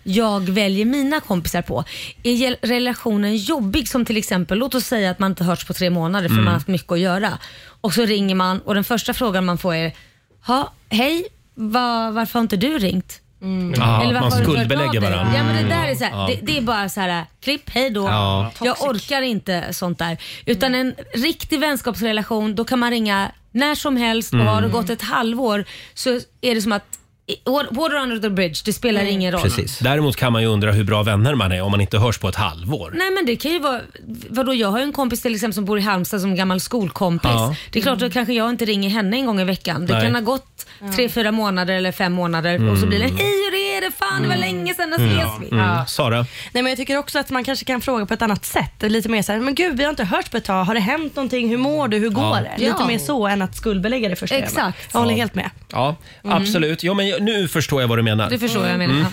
jag väljer mina kompisar på, är gel- relationen jobbig? Som till exempel, låt oss säga att man inte hörts på tre månader för Mm. man har haft mycket att göra. Och så ringer man och den första frågan man får är, ha, hej, va, varför har inte du ringt? Mm. Ja, att man varför har du inte hört skuldbelägger av dig?" varandra. Ja, men det, där är så här, Ja. det, det är bara så här, klipp, hej då. Ja. Jag orkar inte sånt där. Utan en riktig vänskapsrelation, då kan man ringa när som helst och Mm. har det gått ett halvår så är det som att i- water under the bridge, det spelar Mm. ingen roll. Däremot kan man ju undra hur bra vänner man är om man inte hörs på ett halvår. Nej men det kan ju vara, vadå jag har ju en kompis till exempel som bor i Halmstad som gammal skolkompis. Ja. Mm. Det är klart att kanske jag inte ringer henne en gång i veckan. Det Nej. kan ha gått tre, fyra månader eller fem månader och så Mm. blir det hej hur är det? Fan det var länge sedan jag ses vi. Mm. Mm. Sara? Nej, men jag tycker också att man kanske kan fråga på ett annat sätt. Lite mer så här, men gud vi har inte hört på ett tag. Har det hänt någonting? Hur mår du? Hur går Ja. det? Lite Ja. mer så än att skuldbelägga det första Exakt. ögonen. Jag håller Ja. helt med. Ja, Mm. absolut. Jo, men jag- nu förstår jag vad du menar. Det förstår jag menar. Mm.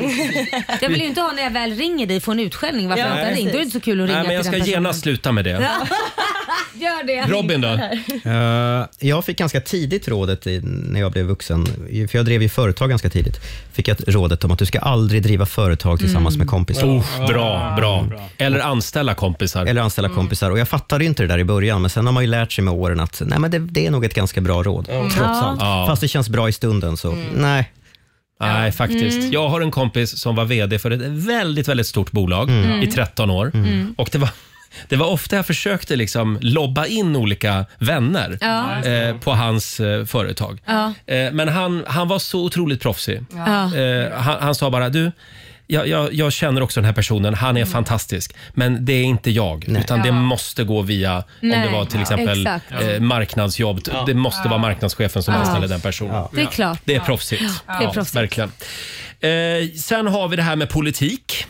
Jag vill ju inte ha när jag väl ringer dig få en utskällning varför Ja, jag inte har ringt. Då är det inte så kul att ringa Nej, men jag till ska den personen. genast sluta med det. Gör det. Robin då? Eh, jag fick ganska tidigt rådet i, när jag blev vuxen, för jag drev ju företag ganska tidigt, fick jag ett rådet om att du ska aldrig driva företag tillsammans Mm. med kompisar. Oh, bra, bra. Eller anställa kompisar. Eller anställa kompisar. Och jag fattade ju inte det där i början, men sen har man ju lärt sig med åren att nej, men det, det är nog ett ganska bra råd, Mm. trots allt. Ja. Mm. Fast det känns bra i stunden, så nej. Nej, faktiskt. Mm. Jag har en kompis som var VD för ett väldigt, väldigt stort bolag Mm. i 13 år. Mm. Och det var... Det var ofta jag försökte liksom lobba in olika vänner Ja. eh, på hans eh, företag. Ja. Eh, men han, han var så otroligt proffsig. Ja. Eh, han, han sa bara, du, jag, jag, jag känner också den här personen, han är fantastisk. Men det är inte jag, utan det Mm. Ja. måste gå via, om det Nej. var till Ja. exempel Exakt. eh, marknadsjobb, det måste vara marknadschefen som Ja. anställer den personen. Det är klart. Det är proffsigt. Ja, det är proffsigt. verkligen. Eh, sen har vi det här med politik.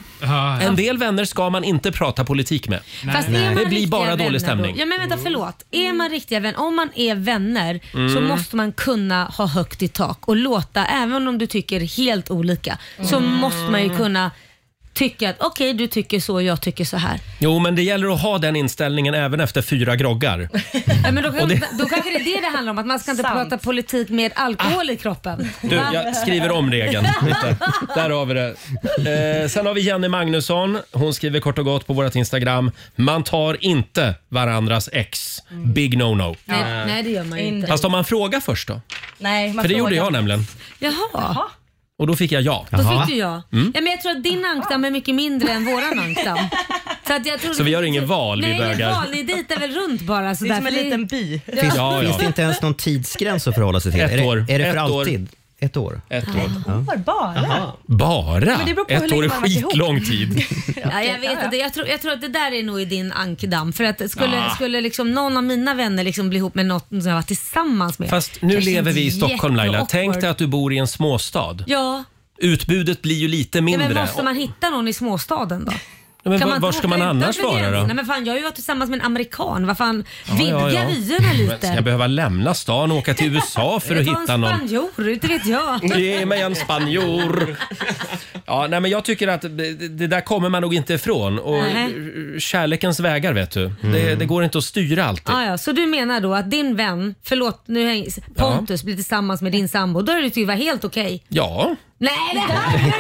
En del vänner ska man inte prata politik med. Fast är man det blir riktiga bara vänner dålig stämning. Då? Ja men vänta förlåt. Är man riktiga vänner, om man är vänner så Mm. måste man kunna ha högt i tak och låta, även om du tycker helt olika, så Mm. måste man ju kunna tycka att okej du tycker så, jag tycker så här. Jo, men det gäller att ha den inställningen även efter fyra groggar. Ja, men då, Och kan, det- då kanske det är det det handlar om, att man ska inte prata politik med alkohol i kroppen. Du, Va? jag skriver om regeln lite. Där har vi det. Eh, sen har vi Jenny Magnusson. Hon skriver kort och gott på vårt Instagram. Man tar inte varandras ex. Big no-no. Nej, nej det gör man ju inte. Fast om man frågar först då? Nej, För det gjorde jag nämligen. Jaha. Och då fick jag ja. Då fick du ja. Mm. ja. Men jag tror att din ankdam är mycket mindre än våran ankdam. Så, att jag tror Så vi gör ingen val, vi Nej, inget bögar. val. Ni dejtar väl runt bara. Så Det är där, som en för liten by. Finns, Ja, ja. finns det inte ens någon tidsgräns att förhålla sig till? Ett är det, år. Är det för Ett år. alltid? Ett år? Ett år. Ja. Bara? Bara? Men det beror på hur Ett länge år är man har varit ihop. skitlång tid. Ja, jag vet inte. Jag tror, jag tror att det där är nog i din ankdam. För att skulle, Ja. skulle liksom någon av mina vänner liksom bli ihop med något som jag var tillsammans med. Fast nu Kanske lever vi i inte Stockholm Laila. jätteawkward. Tänk dig att du bor i en småstad. Ja. Utbudet blir ju lite ja, mindre. men måste man hitta någon i småstaden då? Ja, men Kan var- inte var ska åka man annars utanför vara då? gränserna? Men fan, jag har ju varit tillsammans med en amerikan. Vad fan, Ja, vidga ja, ja. vyerna Men Ska lite. jag behöva lämna stan och åka till USA för att Jag tar hitta en någon? spanjor, inte vet jag. Ge mig en spanjor! Ja, nej, men jag tycker att det det där kommer man nog inte ifrån. Och Nej. kärlekens vägar, vet du. Det, det går inte att styra alltid. Ah, ja, så du menar då att din vän, förlåt nu hänger- Pontus blir tillsammans med din sambo, då är det ju vara helt okej? Ja. Nej det här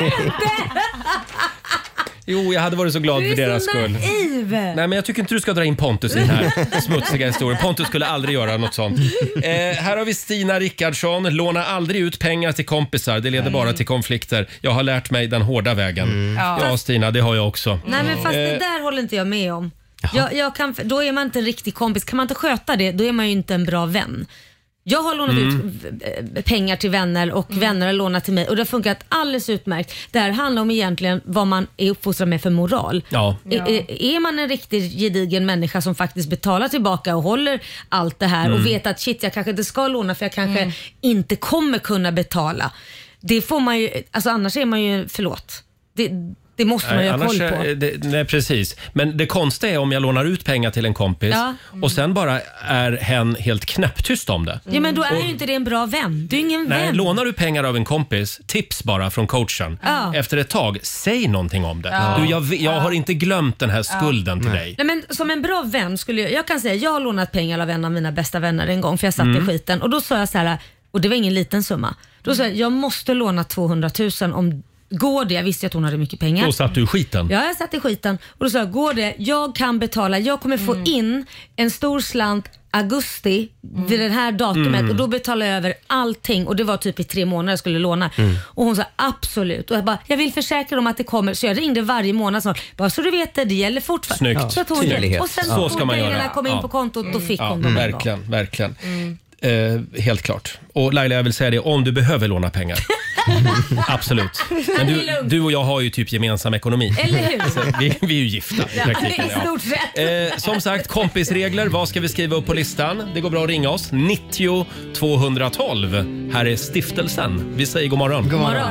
Jo, jag hade varit så glad Du för är deras så skull. naiv. Nej, men jag tycker inte du ska dra in Pontus i den här smutsiga historien. Pontus skulle aldrig göra något sånt. Eh, här har vi Stina Rickardsson. Låna aldrig ut pengar till kompisar. Det leder bara till konflikter. Jag har lärt mig den hårda vägen. Mm. Ja. Mm. Ja, Stina, det har jag också. Nej men fast det Eh, där håller inte jag med om. Jag, jag kan, då är man inte en riktig kompis. Kan man inte sköta det, då är man ju inte en bra vän. Jag har lånat Mm. ut v- eh, pengar till vänner och Mm. vänner har lånat till mig och det har funkat alldeles utmärkt. Det här handlar om egentligen vad man är uppfostrad med för moral. Ja. Är- Är, är man en riktigt gedigen människa som faktiskt betalar tillbaka och håller allt det här Mm. och vet att shit, jag kanske inte ska låna för jag kanske inte kommer kunna betala. Det får man ju, alltså annars är man ju, förlåt. Det, det måste man ju ha koll annars på. är- det, nej, precis. Men det konstiga är om jag lånar ut pengar till en kompis Ja. och sen bara är hen helt knäpptyst om det. Ja men då är Och- ju inte det en bra vän. Du är ingen Mm. Nej, vän. lånar du pengar av en kompis, tips bara från coachen. Ja. Efter ett tag, säg någonting om det. Ja. Du, jag, vi- jag har inte glömt den här Ja. skulden till dig. Nej, men som en bra vän skulle jag, jag kan säga jag har lånat pengar av en av mina bästa vänner en gång för jag satt Mm. i skiten och då sa jag så här och det var ingen liten summa. Då sa jag jag måste låna 200 000 om Går det? Jag visste ju att hon hade mycket pengar. Då satt du i skiten. Ja, jag satt i skiten. Och då sa jag, går det? Jag kan betala. Jag kommer Mm. få in en stor slant augusti vid det här datumet Mm. och då betalar jag över allting och det var typ i tre månader jag skulle låna. Mm. Och hon sa absolut. Och jag bara, jag vill försäkra dem att det kommer. Så jag ringde varje månad snart. Bara så du vet det, det gäller fortfarande. Snyggt. Så att hon Tydlighet. Tydlighet. Och sen Ja. Så så ska fort man pengarna göra. kom in Ja. Mm. på kontot, då fick Ja, hon dem en gång. verkligen, verkligen. Mm. Eh, helt klart. Och Laila, jag vill säga det, om du behöver låna pengar. Absolut. Men Det är du, lugnt. du och jag har ju typ gemensam ekonomi. Eller hur? Så vi, vi är ju gifta i Ja, praktiken. I Ja. stort sett. Eh, som sagt, kompisregler. Vad ska vi skriva upp på listan? Det går bra att ringa oss. 90 212. Här är stiftelsen. Vi säger god morgon. God morgon.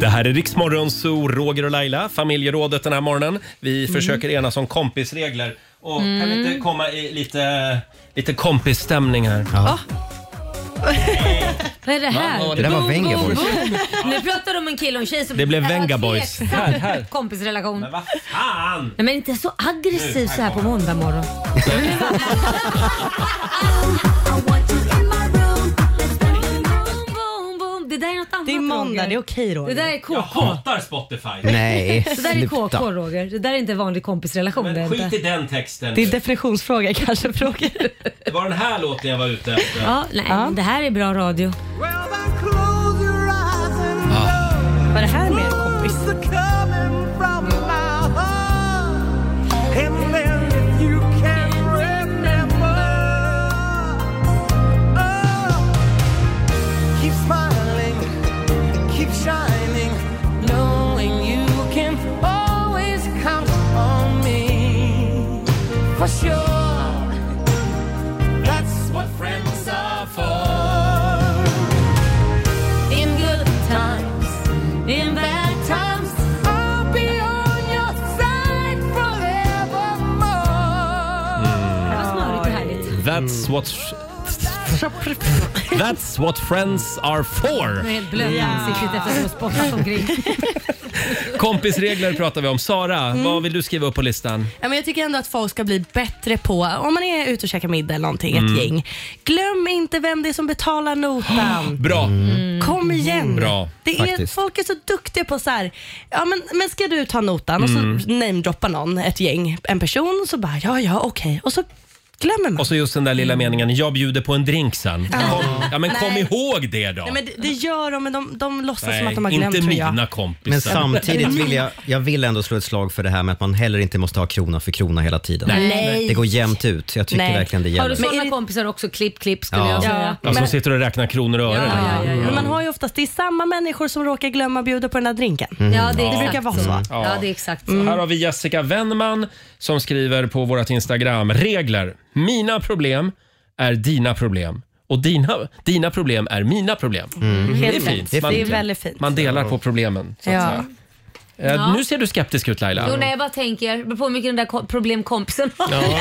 Det här är Riksmorgon Zoo, Roger och Laila, familjerådet den här morgonen. Vi försöker enas om kompisregler. Och Kan vi inte komma i lite, lite kompisstämning här? Vad är det Va, här? vad- det där var Boom, Venga boom, Boys. boom. Nu pratar de om en kille och en tjej som Det blev Äh, Venga vad Boys. tveksam Här, här. Kompisrelation. Men vad fan! Nej, men inte så aggressiv Nu, så här på måndag morgon. Boom, boom. Det där är något annat Det är måndag, det är okej Roger. Det där är KK. Jag hatar Spotify. Det där är KK Roger. Det där är inte en vanlig kompisrelation. det är inte. Skit i den texten. Det är definitionsfråga kanske Roger. Det var den här låten jag var ute efter. Ja, nej, det här är bra radio. Vad är det här med kompis? For sure, that's what friends are for. In good times, in bad times, I'll be on your side forevermore. That's what... That's what friends are Jag är for. helt blöt i ansiktet efter att ha spottat omkring. Kompisregler pratar vi om. Sara, Mm. vad vill du skriva upp på listan? Ja, men jag tycker ändå att folk ska bli bättre på, om man är ute och käkar middag eller någonting, Mm. ett gäng. Glöm inte vem det är som betalar notan. Bra. Kom igen. Mm. Bra, det är, faktiskt. folk är så duktiga på så här, ja men, men ska du ta notan? Mm. Och så namedroppar någon ett gäng, en person, och så bara ja, ja, okej. Och så glömmer man. Och så just den där lilla meningen, jag bjuder på en drink sen. Ja. Kom, ja men kom Mm. Ah. Nej. ihåg det då. Nej, men det, det gör de, men de, de låtsas som att de har Nej, glömt inte tror jag. mina kompisar. Men samtidigt Mm. vill Mina. jag, jag vill ändå slå ett slag för det här med att man heller inte måste ha krona för krona hela tiden. Nej. Det går jämnt ut. Jag tycker verkligen det Har gäller. du sådana kompisar också? Klipp, klipp skulle jag säga. Ja, som Alltså, sitter och räknar kronor och ören. Men man har ju oftast, det är samma människor som råkar glömma bjuda på den där drinken. Mm. Ja, det, det är exakt brukar vara så. så. Mm. Ja, det är exakt Så Här har vi Jessica Wennman som skriver på vårt Instagram. Regler. Mina problem är dina problem. Och dina, dina problem är mina problem. Mm. Mm. Det är Helt rätt. fint. Det är väldigt fint. Man delar på problemen. Så att Ja. säga. Eh, Ja. Nu ser du skeptisk ut Laila. Jo, nej, jag bara tänker. Det beror på hur mycket den där ko- problemkompisen har. ja.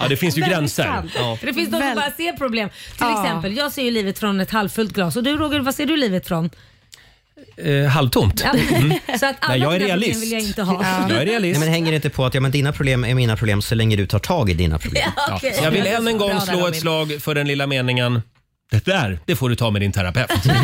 ja, det finns ju gränser. Ja. För det finns de som Väl- bara ser problem. Till Ja. exempel, jag ser ju livet från ett halvfullt glas och du Roger, vad ser du livet från? Eh, halvtomt. Ja. Mm. Så att alla Nej, jag är dina problem realist. vill jag inte ha. Nej, men hänger det inte på att ja, men dina problem är mina problem så länge du tar tag i dina problem? Ja, okej. Jag vill än en Bra gång där, slå Robin. ett slag för den lilla meningen. Det där, det får du ta med din terapeut. eh,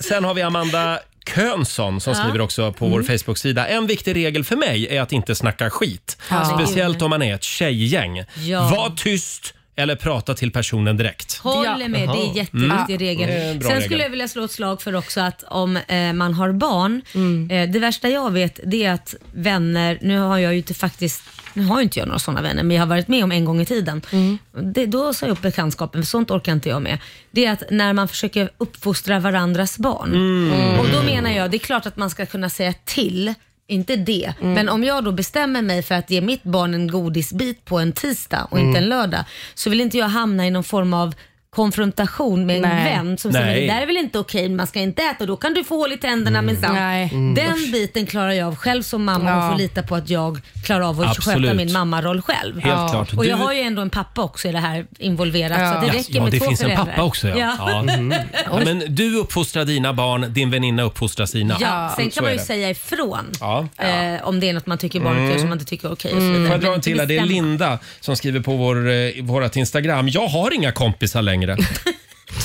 sen har vi Amanda Könsson som Ja. skriver också på vår Facebook-sida. En viktig regel för mig är att inte snacka skit. Ja. Speciellt om man är ett tjejgäng. Ja. Var tyst eller prata till personen direkt. Håller med, det är en jätteviktig regel. Mm. Det är en Sen bra regel. skulle jag vilja slå ett slag för också att om eh, man har barn, Mm. eh, det värsta jag vet det är att vänner, nu har jag ju inte faktiskt nu har ju inte jag några sådana vänner, men jag har varit med om en gång i tiden. Mm. Det, då sa jag upp bekantskapen, för sånt orkar inte jag med. Det är att när man försöker uppfostra varandras barn. Mm. Och då menar jag, det är klart att man ska kunna säga till, inte det. Mm. Men om jag då bestämmer mig för att ge mitt barn en godisbit på en tisdag och inte Mm. en lördag, så vill inte jag hamna i någon form av konfrontation med en Nej. vän som Nej. säger det där är väl inte okej, man ska inte äta och då kan du få hål i tänderna minsann. Mm. Den Usch. biten klarar jag av själv som mamma Ja. och får lita på att jag klarar av att Absolut. sköta min mammaroll själv. Helt Ja. klart. Och jag Du- har ju ändå en pappa också i det här involverat så det Ja, räcker ja, med det två finns en föräldrar. pappa också. Ja. Ja. Mm. Ja, men du uppfostrar dina barn, din väninna uppfostrar sina. Ja, sen Så kan man är ju det. säga ifrån Ja. eh, om det är något man tycker barnet Mm. gör som man inte tycker är okej. och så vidare. Mm. Får jag dra Men en till? här? Det är bestämma. Linda som skriver på vår, eh, vårat Instagram. Jag har inga kompisar längre.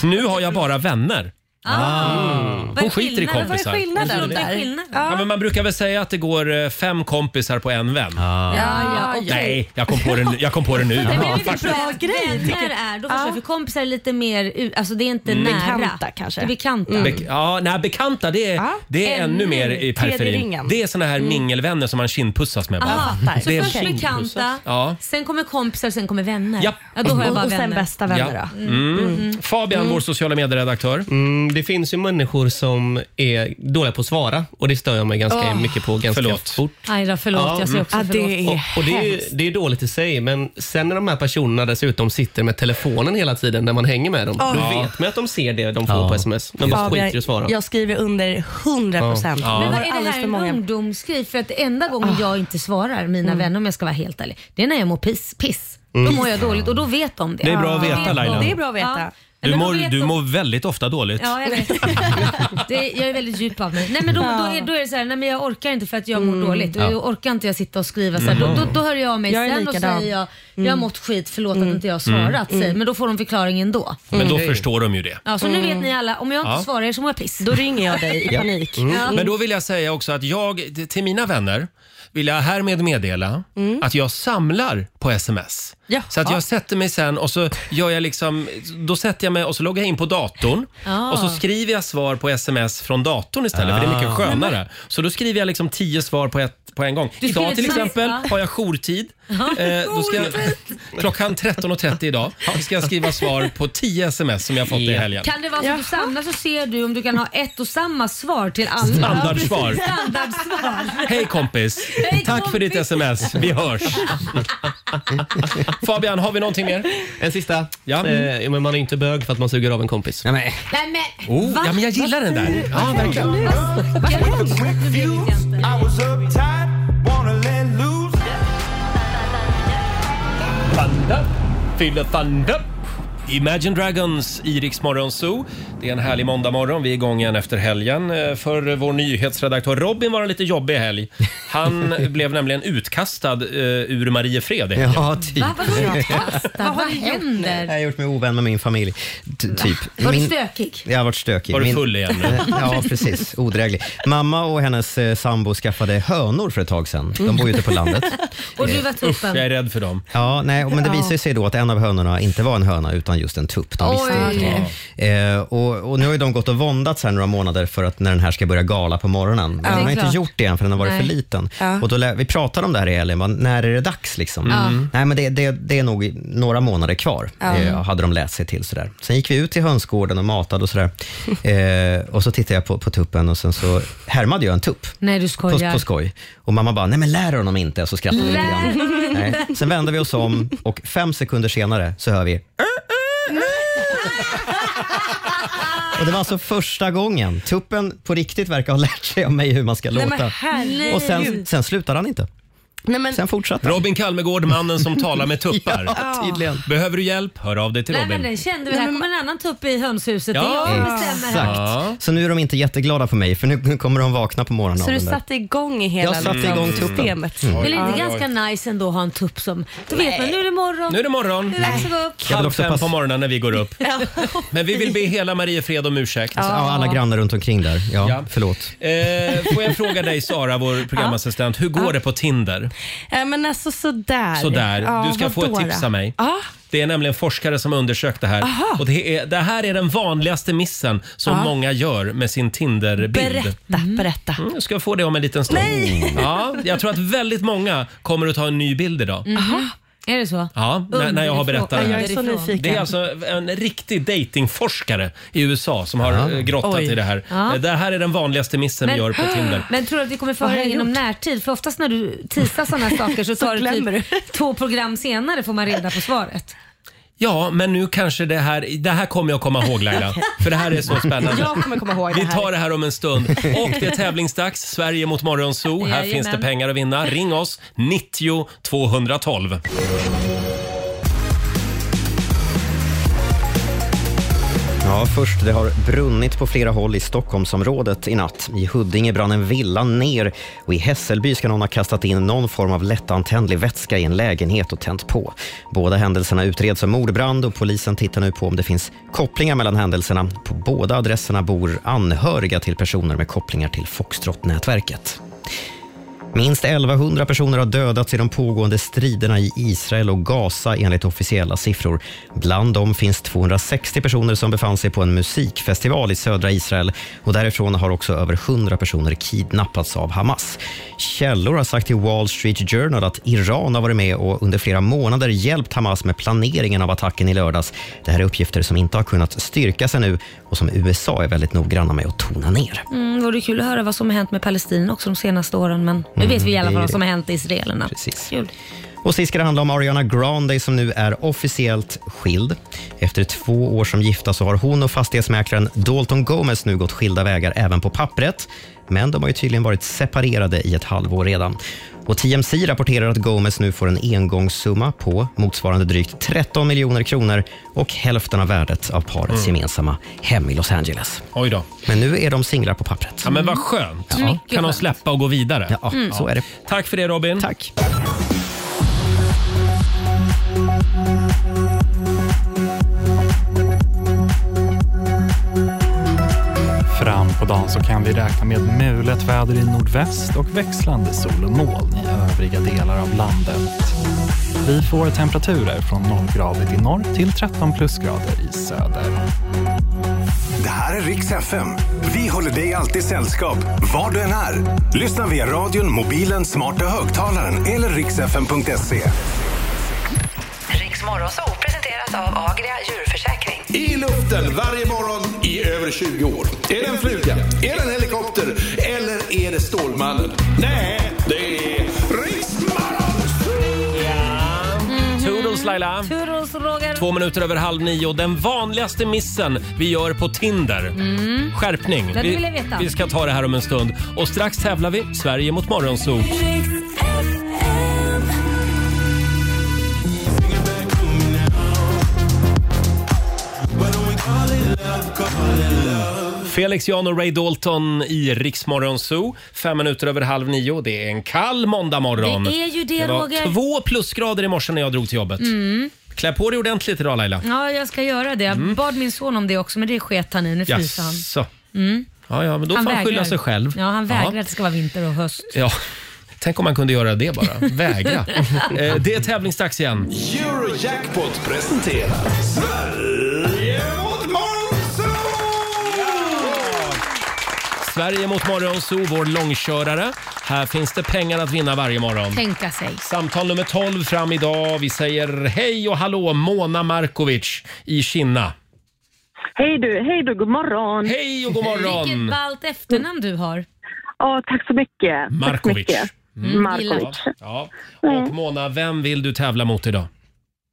nu har jag bara vänner. Ah. Vad är Mm. Hon skiter i skillnaden? kompisar. Vad är skillnaden Ja, där? Ja, men man brukar väl säga att det går eh, fem kompisar på en vän. Ja, ja, okej. Nej, jag kom på det, nu- jag kom på det nu. Nej, men det är Faktiskt. lite bra grej. Vänner är, då förstår jag, för kompisar är lite mer, u- alltså det är inte nära. Bekanta kanske. Det är bekanta. Bek- ja, nej, bekanta det är, det är ännu, Mm. Ännu mer i tredje periferin. ringen. Det är såna här Mm. mingelvänner som man kindpussas med. bara. Aha, så Det är först kindpussas. bekanta, Ja. sen kommer kompisar, sen kommer vänner. Ja. ja då har jag Och- bara och sen vänner. bästa Ja. Mm. Fabian, vår sociala medieredaktör. Mm, det finns ju människor som är dåliga på att svara och det stör jag mig ganska Åh. mycket på ganska Förlåt. fort. Aj då, förlåt. Ja, jag säger mm. också Ja, förlåt. och, och det, är ju, det är dåligt i sig, men sen när de här personerna dessutom sitter med telefonen hela tiden när man hänger med dem, Ja. då Ja. vet man att de ser det de får Ja. på sms. De bara Fabian, skiter i att svara. Jag skriver under 100 procent. Ja. Ja. Men vad Har är det alldeles här för en många- ungdomsgrej? För att enda gången jag inte svarar mina vänner om jag ska vara helt ärlig, det är när jag mår piss. piss. Då Mm. mår jag dåligt och då vet de det. Det är bra att veta, de. Laila. Det är bra att veta. Ja. Men Du då mår, vet du de- mår väldigt ofta dåligt. Ja, jag vet. Det, jag är väldigt djup av mig. Nej, men då, Ja. då, är, då är det så här, nej men jag orkar inte för att jag mår Mm. dåligt. Och Ja. jag orkar inte jag sitta och skriva så här. Mm. Då, då, då hör jag av mig Jag är sen och likadan. säger jag, jag har mått skit, förlåt att inte jag har Mm. svarat. säger. Men då får de förklaringen då. Men då förstår de ju det. Ja, så nu vet ni alla, om jag inte Ja. svarar er så mår jag piss. Då ringer jag dig Ja. Mm. Men då vill jag säga också att jag, till mina vänner, vill jag härmed meddela Mm. att jag samlar på sms. Ja. Så att Ja. jag sätter mig sen och så gör jag liksom, då sätter jag mig och så loggar jag in på datorn Ah. och så skriver jag svar på sms från datorn istället för det är mycket Ah. skönare. Så då skriver jag liksom tio svar på, ett, på en gång. Du Idag skriver till ett sms, exempel va? har jag jourtid. Eh, då ska jag, klockan 13.30 idag ska jag skriva svar på 10 sms som jag fått i helgen. Kan det vara så att du samlar så ser du om du kan ha ett och samma svar till alla? Standardsvar. Ja, precis. Standardsvar. Hej kompis! Hej, Tack för kompis. ditt sms. Vi hörs. Fabian, har vi någonting mer? En sista. Ja. Eh, men man är inte bög för att man suger av en kompis. Ja, men. Nej men, Oh, ja, men jag gillar den där. Ja, verkligen. Thunder, fyller thunder. Imagine Dragons i Rix Morgon Zoo. Det är en härlig måndagmorgon. Vi är igång igen efter helgen. Eh, För vår nyhetsredaktör Robin var det lite jobbig helg. Han blev nämligen utkastad eh, ur Mariefred i helgen. Ja, typ. Va, vadå utkastad? Vad händer? Jag har gjort mig ovän med min familj. T- typ. Var du Min- stökig? Jag har varit stökig. Var du Min- full igen nu? Eh, ja, precis. Odräglig. Mamma och hennes eh, sambo skaffade hönor för ett tag sedan. De bor ju ute på landet. Och du var tuppen? rädd för dem. Ja, nej, men det Ja. visade sig då att en av hönorna inte var en höna utan just en tupp. De visste Oj. inte det. Eh, och, och nu har ju de gått och våndats här några månader för att när den här ska börja gala på morgonen. Men Ja, de det har är inte klart. gjort det än för den har varit Nej. för liten. Ja. Och då lä- vi pratade om det här i Elin, bara, när är det dags liksom? Ja. Mm. Nej, men det, det, det är nog några månader kvar, Ja. eh, hade de läst sig till. Sådär. Sen gick vi ut till hönsgården och matade och sådär. Eh, och så tittade jag på, på tuppen och sen så härmade jag en tupp Nej du på, skojar. på skoj. Och mamma bara, nej men lär honom inte. Och så skrattade vi lite Lär grann. honom inte. Nej. Sen vände vi oss om och fem sekunder senare så hör vi och det var alltså första gången. Tuppen på riktigt verkar ha lärt sig av mig hur man ska Nej, men låta. herregud. Och sen, sen slutade han inte. Nej, men, Sen fortsatte han. Robin Kalmegård, mannen som talar med tuppar. Ja, tydligen. Behöver du hjälp? Hör av dig till Nej Robin. men den kände vi, här kommer en annan tupp i hönshuset. Det är Ja, jag som bestämmer Exakt. här. Så nu är de inte jätteglada på mig för nu nu kommer de vakna på morgonen Så av du den där. satte igång i hela Jag satte liksom, igång tuppen. systemet? Mm. Men det är Oj, inte oj, ganska nice ändå att ha en tupp som, då vet Nej. man nu är det morgon. Nu är det morgon. Det är dags att gå upp. Halv fem på morgonen när vi går upp. Ja. Men vi vill be hela Mariefred om ursäkt. Ja, alla grannar runt omkring där. Ja, förlåt. Eh, får jag fråga dig Sara, vår programassistent, hur går det på Tinder? Eh, Men alltså sådär. Sådär. du ska få ett vadå tips då? av mig. Ja. Det är nämligen forskare som har undersökt det här. Aha. Och det, är, det här är den vanligaste missen som Ja. många gör med sin Tinder-bild. Berätta, berätta. Mm, jag ska få det om en liten stund. Mm. Nej! Ja, jag tror att väldigt många kommer att ta en ny bild idag. Mm. Mhm. Är det så? Ja, när, när jag har berättat det Underifrån. här. Jag är så nyfiken. Det är alltså en riktig datingforskare i USA som har eh, grottat Oj. i det här. Ja. Eh, Det här är den vanligaste missen vi gör på Tinder. Men tror du att vi kommer få Vad har höra jag inom närtid? För oftast när du teasar sådana här saker så Så tar glömmer det typ två program senare får man reda på svaret. Ja, men nu kanske det här, det här kommer jag komma ihåg Laila. För det här är så spännande. Jag kommer komma ihåg det Vi här. tar det här om en stund. Och det är tävlingsdags. Sverige mot Morgonzoo. Här Jajamän. finns det pengar att vinna. Ring oss, 90 212. Ja, först, det har brunnit på flera håll i Stockholmsområdet i natt. I Huddinge brann en villa ner och i Hässelby ska någon ha kastat in någon form av lättantändlig vätska i en lägenhet och tänt på. Båda händelserna utreds som mordbrand och polisen tittar nu på om det finns kopplingar mellan händelserna. På båda adresserna bor anhöriga till personer med kopplingar till Foxtrot-nätverket. Minst 1100 personer har dödats i de pågående striderna i Israel och Gaza enligt officiella siffror. Bland dem finns 260 personer som befann sig på en musikfestival i södra Israel och därifrån har också över 100 personer kidnappats av Hamas. Källor har sagt till Wall Street Journal att Iran har varit med och under flera månader hjälpt Hamas med planeringen av attacken i lördags. Det här är uppgifter som inte har kunnat styrkas ännu och som USA är väldigt noggranna med att tona ner. Mm, vore kul att höra vad som har hänt med Palestina också de senaste åren men nu Mm, vet vi i alla det är fall vad det. som har hänt i israelerna. Precis. Kul. Och sist ska det handla om Ariana Grande som nu är officiellt skild. Efter två år som gifta så har hon och fastighetsmäklaren Dalton Gomez nu gått skilda vägar även på pappret. Men de har ju tydligen varit separerade i ett halvår redan. Och TMC rapporterar att Gomez nu får en engångssumma på motsvarande drygt 13 miljoner kronor och hälften av värdet av parets Mm. gemensamma hem i Los Angeles. Oj då. Men nu är de singlar på pappret. Ja, men vad skönt. Ja. Mycket Kan de skönt. släppa och gå vidare. Ja, Mm. så är det. Tack för det Robin. Tack. Fram på dagen så kan vi räkna med mulet väder i nordväst och växlande sol och moln i övriga delar av landet. Vi får temperaturer från 0 grader i norr till 13 plusgrader i söder. Det här är Riks FM. Vi håller dig alltid sällskap, var du än är. Lyssna via radion, mobilen, smarta högtalaren eller riksfm.se. Riks Morgonzoo presenteras av Agria djurförsäkring. I luften varje morgon i över 20 år. Är det en fluga? Är det en helikopter? Eller är det Stålmannen? Nej, det är Mm-hmm. Toodles Laila. Toodles Roger. Två minuter över halv nio. Den vanligaste missen vi gör på Tinder. Mm. Skärpning. Det vill jag Vi, veta. vi ska ta det här om en stund. Och strax tävlar vi Sverige mot Morgonzoo. Felix Jan och Ray Dalton i Riksmorgon Zoo. Fem minuter över halv nio. Det är en kall måndagmorgon. Det är ju det, var Roger. två plusgrader i morse när jag drog till jobbet. Mm. Klä på dig ordentligt idag Laila. Ja, jag ska göra det. Jag Mm. bad min son om det också men det sket han i. Nu fryser han. Jaså. Mm. Ja, ja, men då får han skylla vägrar. sig själv. Ja, han vägrar att det ska vara vinter och höst. Ja. Tänk om man kunde göra det bara. Vägra. Eh, det är tävlingsdags igen. Eurojackpot presenterar Sverige mot Morgonzoo! Sverige mot Morgonzoo, vår långkörare. Här finns det pengar att vinna varje morgon. Tänka sig. Samtal nummer 12 fram idag. Vi säger hej och hallå Mona Markovic i Kinna. Hej du, hej du, god morgon. Hej och god morgon. Vilket ballt efternamn du har. Ja, tack så mycket. Tack så Markovic. mycket. Mm. Markovic. Ja, ja. Mm. Och Mona, vem vill du tävla mot idag?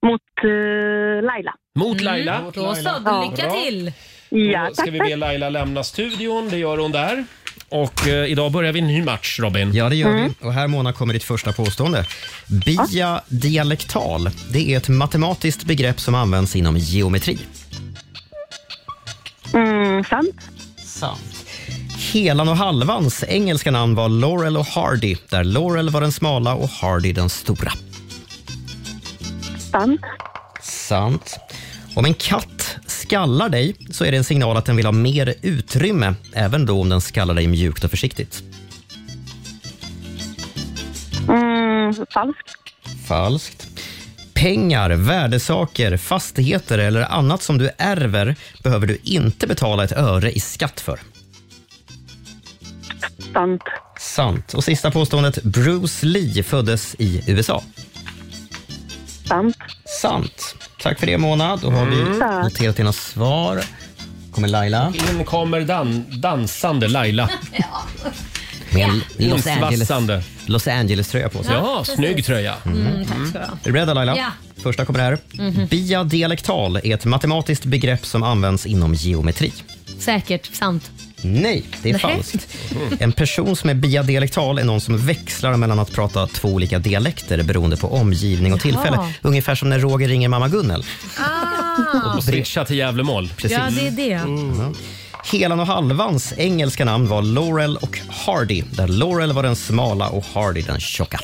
Mot eh, Laila. Mot Mm. Laila. Då så, Ja. lycka till! Ja, Då ska tack, vi tack. be Laila lämna studion. Det gör hon där. Och eh, idag börjar vi en ny match, Robin. Ja, det gör vi. Och här, Mona, kommer ditt första påstående. Biadialektal, det är ett matematiskt begrepp som används inom geometri. Mm, sant. Sant. Helan och Halvans engelska namn var Laurel och Hardy, där Laurel var den smala och Hardy den stora. Sant. Sant. Om en katt skallar dig så är det en signal att den vill ha mer utrymme, även då om den skallar dig mjukt och försiktigt. Mm, falskt. Falskt. Pengar, värdesaker, fastigheter eller annat som du ärver behöver du inte betala ett öre i skatt för. Sant. Sant. Och sista påståendet. Bruce Lee föddes i USA. Sant. Sant. Tack för det Mona. Då har vi Mm. Tack. noterat dina svar. kommer Laila. In kommer dan dansande Laila. Med en Ja. Los Angeles, Insvassande. Los Angeles-tröja på sig. Ja, Ja, snygg precis. tröja. Mm, tack ska du ha. Är du redo Laila? Ja. Första kommer här. Mhm. Biadialektal är ett matematiskt begrepp som används inom geometri. Säkert, sant. Nej, det är Nej. falskt. En person som är biadialektal är någon som växlar mellan att prata två olika dialekter beroende på omgivning och tillfälle. Jaha. Ungefär som när Roger ringer mamma Gunnel. Ah. Och switcha till Gävlemål. Precis. Ja, det är det. Ja. Helan och Halvans engelska namn var Laurel och Hardy, där Laurel var den smala och Hardy den tjocka.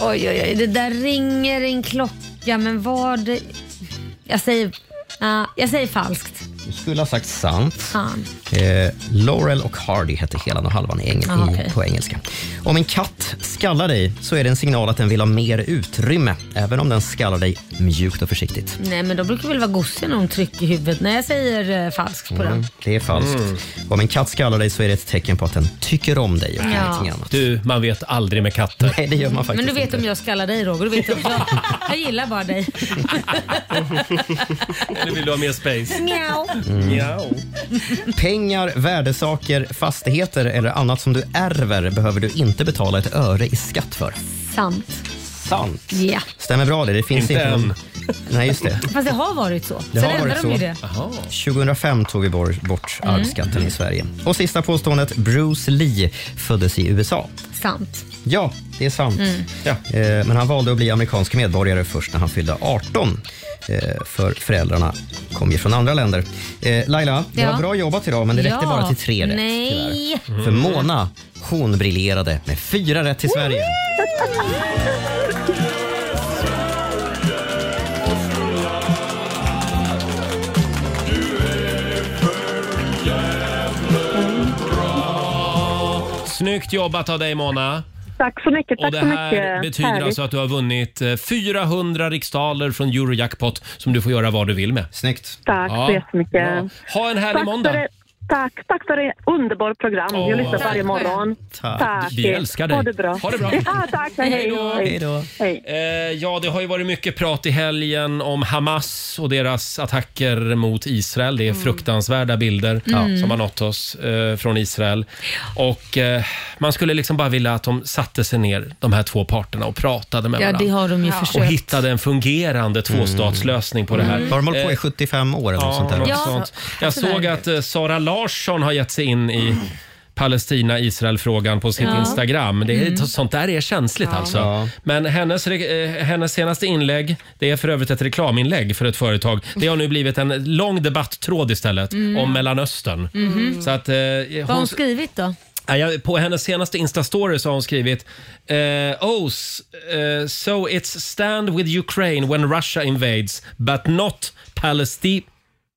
Oj, oj, oj. Det där ringer en klocka, men vad... Jag säger, ah, jag säger falskt. Du skulle ha sagt sant. Fan. Eh, Laurel och Hardy hette Helan och Halvan i engel- Ah, i- okej. på engelska. Om en katt skallar dig så är det en signal att den vill ha mer utrymme, även om den skallar dig mjukt och försiktigt. Nej, men då brukar väl vara gosse när hon trycker i huvudet. Nej, jag säger eh, falskt på Mm, den. det är falskt. Mm. Om en katt skallar dig så är det ett tecken på att den tycker om dig och Ja. ingenting annat. Du, man vet aldrig med katter. Nej, det gör man Men faktiskt du vet inte. om jag skallar dig Roger. Du vet att jag, jag gillar bara dig. Eller vill du ha mer space? Miau. Mm. Pengar, värdesaker, fastigheter eller annat som du ärver behöver du inte betala ett öre i skatt för. Sant. Sant. Ja. Stämmer bra det. Det finns Inte inte någon... Nej, just det. Fast det har varit så. Det Sen har varit ändrar de ju så. det. 2005 tog vi bor- bort Mm. arvsskatten i Sverige. Och sista påståendet. Bruce Lee föddes i USA. Sant. Ja, det är sant. Mm. Ja. Eh, Men han valde att bli amerikansk medborgare först när han fyllde 18. eh, För föräldrarna kom ju från andra länder. Eh, Laila, det Ja. var bra jobbat idag men det räckte Ja. bara till tre rätt. Nej. tyvärr. För Mona, hon briljerade med fyra rätt till Sverige. Snyggt jobbat av dig Mona. Tack så mycket. Tack Och det så här mycket. betyder Härligt. alltså att du har vunnit eh, 400 riksdaler från Eurojackpot som du får göra vad du vill med. Snyggt. Tack så jättemycket. Ha en härlig tack måndag. För det, tack, tack för ett underbart program. Åh, jag lyssnar tack. varje morgon. Tack. Vi älskar dig. Ha det bra. Ha det bra. Ja, tack. Hej, hej. Hej då. Eh, ja, det har ju varit mycket prat i helgen om Hamas och deras attacker mot Israel. Det är Mm. fruktansvärda bilder Mm. som har nått oss eh, från Israel. Och eh, man skulle liksom bara vilja att de satte sig ner, de här två parterna, och pratade med Ja, varandra. det har de ju Och försökt. hittade en fungerande tvåstatslösning på det här. Mm. Har de hållit på i 75 år eller något sånt där? något Ja. sånt. Jag såg att eh, Sara Larsson har gett sig in i Mm. Palestina-Israel-frågan på sitt Ja. Instagram. Det är, Mm. Sånt där är känsligt Ja. alltså. Ja. Men hennes, re- eh, hennes senaste inlägg, det är för övrigt ett reklaminlägg för ett företag. Det har nu blivit en lång debatttråd istället Mm. om Mellanöstern. Mhm. Så att, eh, Vad har hon, hon skrivit då? Ja, jag- på hennes senaste Insta-story så har hon skrivit eh, Oh, s- eh, so it's stand with Ukraine when Russia invades but not Palestine.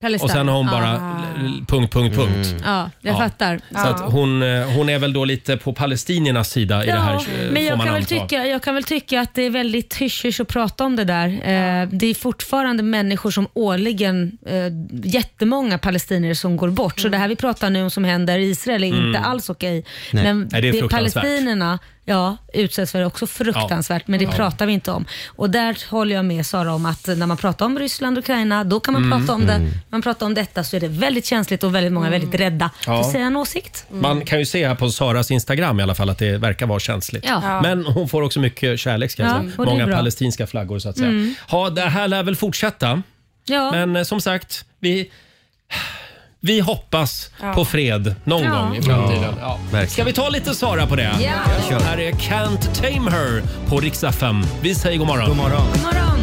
Palestina. Och sen har hon bara Ah. l- l- punkt, punkt, punkt. Ja, jag Ja. fattar. Så Ja. att hon, eh, hon är väl då lite på palestiniernas sida i det här, eh, men får jag man kan, väl anta. tycka, jag kan väl tycka att det är väldigt hysch att prata om det där. Eh, det är fortfarande människor som årligen, eh, jättemånga palestinier som går bort. Så det här vi pratar nu om som händer i Israel är Mm. inte alls okej. Nej. Men Nej, det är fruktansvärt. palestinierna ja, utsätts för det också fruktansvärt, Ja. men det Ja. pratar vi inte om. Och där håller jag med Sara om att när man pratar om Ryssland och Ukraina, då kan man Mm. prata om det. Mm. När man pratar om detta så är det väldigt känsligt och väldigt många är väldigt rädda för Ja. att säga en åsikt. Man kan ju se här på Saras Instagram i alla fall att det verkar vara känsligt. Ja. Ja. Men hon får också mycket kärlek ska jag Ja, säga. och det är Många bra. palestinska flaggor så att säga. Mm. Ja, det här lär väl fortsätta. Ja. Men eh, som sagt, vi, vi hoppas Ja. på fred någon Ja. gång i framtiden. Ja, Ja. Ska vi ta lite Sara på det? Ja. Kör. Här är Can't Tame Her på Rix FM. Vi säger god morgon. God morgon. God morgon!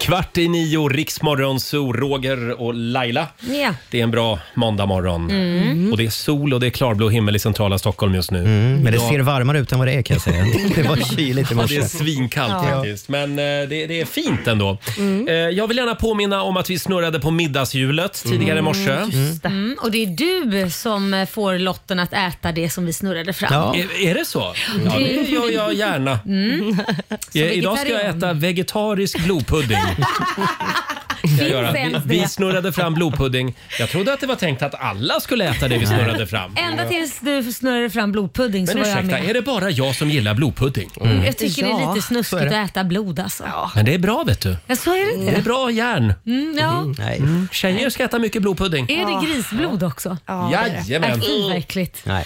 Kvart i nio, Riksmorgon, Zoo, Roger och Laila. Ja. Det är en bra måndagmorgon. Mm. Och det är sol och det är klarblå himmel i centrala Stockholm just nu. Men det Idag- ser varmare ut än vad det är kan jag säga. Det var kyligt i Mm. Ja, morse. det är svinkallt Ja. faktiskt. Men eh, det, det är fint ändå. Mm. Eh, jag vill gärna påminna om att vi snurrade på middagshjulet tidigare i morse. Mm, och det är du som eh, får lotten att äta det som vi snurrade fram. Är, är det så? Ja, det gör jag gärna. Mm. Eh, Idag ska jag vegetarian. äta vegetarisk blodpudding. Ska jag göra. Vi, ens vi det? snurrade fram blodpudding. Jag trodde att det var tänkt att alla skulle äta det vi snurrade fram. Ända tills du snurrade fram blodpudding Men så var jag ursäkta, med. är det bara jag som gillar blodpudding? Mm. Jag tycker det är Ja, lite så snuskigt är det. att äta blod alltså. Ja, Men det är bra vet du. så är det Det inte. är bra järn. Mm, ja. Nej. Tjejer ska äta mycket blodpudding. Är det grisblod också? Ja, det är det. Jajamän. Äh, fy, vad äckligt. Nej.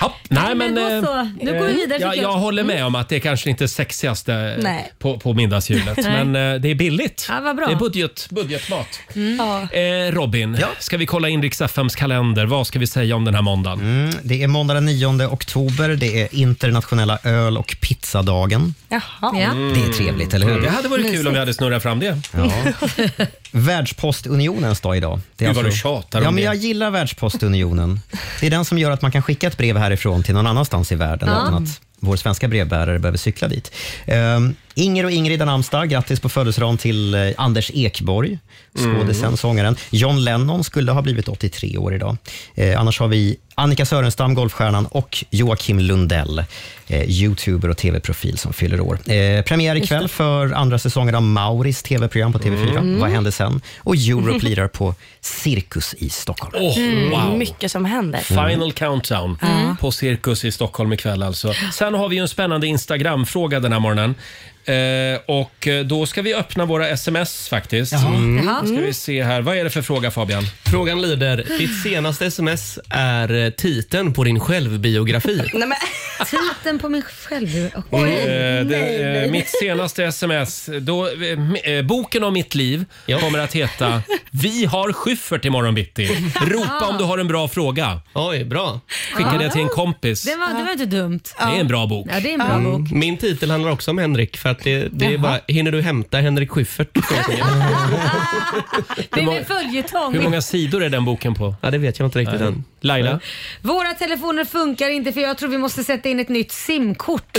Hopp. Nej, men, men då så. eh, Nu går vi vidare, Jag, tycker jag. Mm. jag håller med om att det är kanske inte sexigaste eh, Nej. på, på middagshjulet. Nej. men eh, det är billigt. Ja, vad bra. Det är budget, budgetmat. Mm. Eh, Robin, ska vi kolla in Rix FMs kalender? Vad ska vi säga om den här måndagen? Mm, det är måndag den 9 oktober. Det är internationella öl och pizzadagen. Jaha. Det är trevligt, eller hur? Det hade varit kul om vi hade snurrat fram det. Ja. Världspostunionens dag idag. Det är alltså- Gud, vad du tjatar om ja, men det. Jag gillar Världspostunionen. Det är den som gör att man kan skicka ett brev härifrån till någon annanstans i världen Ja. utan att vår svenska brevbärare behöver cykla dit. Ehm, Inger och Ingrid har namnsdag. Grattis på födelsedagen till eh, Anders Ekborg, skådisen, Mm. sångaren. John Lennon skulle ha blivit 83 år idag. Eh, annars har vi Annika Sörenstam, golfstjärnan, och Joakim Lundell, eh, youtuber och tv-profil som fyller år. Eh, premiär Just ikväll det. för andra säsongen av Mauris tv-program på TV4. Mm. Vad hände sen? Och Europe lirar på Cirkus i Stockholm. Mm, wow. Mycket som händer. Final countdown Mm. på Cirkus i Stockholm ikväll alltså. Sen har vi ju en spännande Instagram-fråga den här morgonen. Eh, och eh, då ska vi öppna våra sms faktiskt. Jaha. Mm. Jaha. Ska vi se här. Vad är det för fråga Fabian? Frågan lyder, ditt senaste sms är eh, titeln på din självbiografi. Nej, men... Titeln på mig själv. Okej. Mm, eh, det, eh, mitt senaste sms, då, eh, m- eh, boken om mitt liv kommer att heta Vi har Schyffert imorgon bitti. Ropa om du har en bra fråga. Oj, bra. Skicka det till en kompis. Det, var, det var inte dumt. Det är en bra bok. Ja, det är en bra bok. Min titel handlar också om Henrik. För att det, det är bara, hinner du hämta Henrik Schyffert? Det är en följetong. Hur många sidor är den boken på? Ja, det vet jag inte riktigt än. Laila? Våra telefoner funkar inte för jag tror vi måste sätta in ett nytt simkort.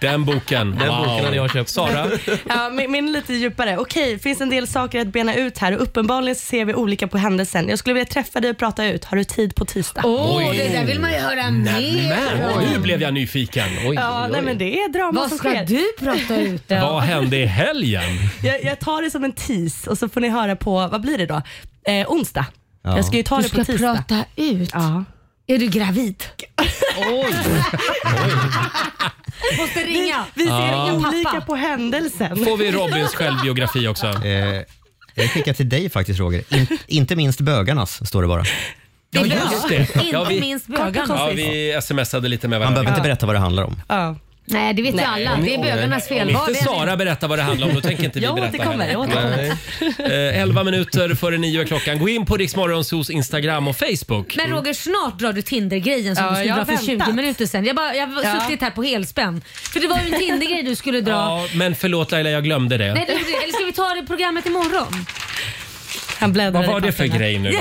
Den boken. Den wow. boken hade jag köpt. Sara? Ja, min, min är lite djupare. Okej, finns en del saker att bena ut här och uppenbarligen ser vi olika på händelsen. Jag skulle vilja träffa dig och prata ut. Har du tid på tisdag? Åh, oh, det där vill man ju höra mer Nämen, om. nu blev jag nyfiken. Oj, Ja, nej, men det är drama Vad som ska sker. du prata ut om? Vad hände i helgen? Jag, jag tar det som en tease och så får ni höra på, vad blir det då? Eh, onsdag. Ja. Jag ska ju ta Du det ska på tisdag. prata ut? Ja. Är du gravid? Oj. Måste ringa. Vi, vi ser Ja. olika på händelsen. Får vi Robins självbiografi också? Eh, jag skickar till dig faktiskt, Roger. In, inte minst bögarnas, står det bara. Ja, just det. Inte Ja, vi- minst bögarna. Ja, vi smsade lite med Man varandra. behöver inte berätta vad det handlar om. Nej, det vet ju alla. Det är bögarnas fel. Om Vad inte vi än är. Sara berättar vad det handlar om, då tänker inte vi Jag berätta återkommer, heller. jag återkommer. Nej. Eh, 11 minuter före nio är klockan. Gå in på Riksmorgonsos Instagram och Facebook. Men Roger, snart drar du Tinder-grejen som Ja, du skulle jag dra har för 20 väntat. minuter sedan. Jag, bara, jag har Ja. suttit här på helspänn. För det var ju en Tinder-grej du skulle dra. Ja, men förlåt Laila, jag glömde det. Nej, det gjorde du. eller ska vi ta det programmet imorgon? Han Vad var det för grej nu då?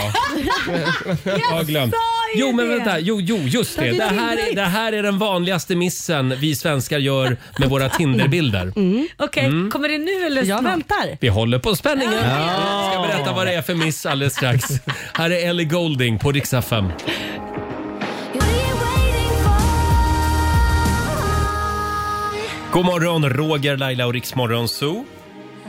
Jag har glömt. Jo, men vänta. Jo, jo just Ta det. det Det här, till är, det här är den vanligaste missen vi svenskar gör med våra Tinderbilder. Okej, Mm. kommer det nu eller Jag väntar. Vi håller på spänningen. Jag ska berätta vad det är för miss alldeles strax. Här är Ellie Golding på Rix FM. God morgon, Roger, Laila och Rix Morgon Zoo.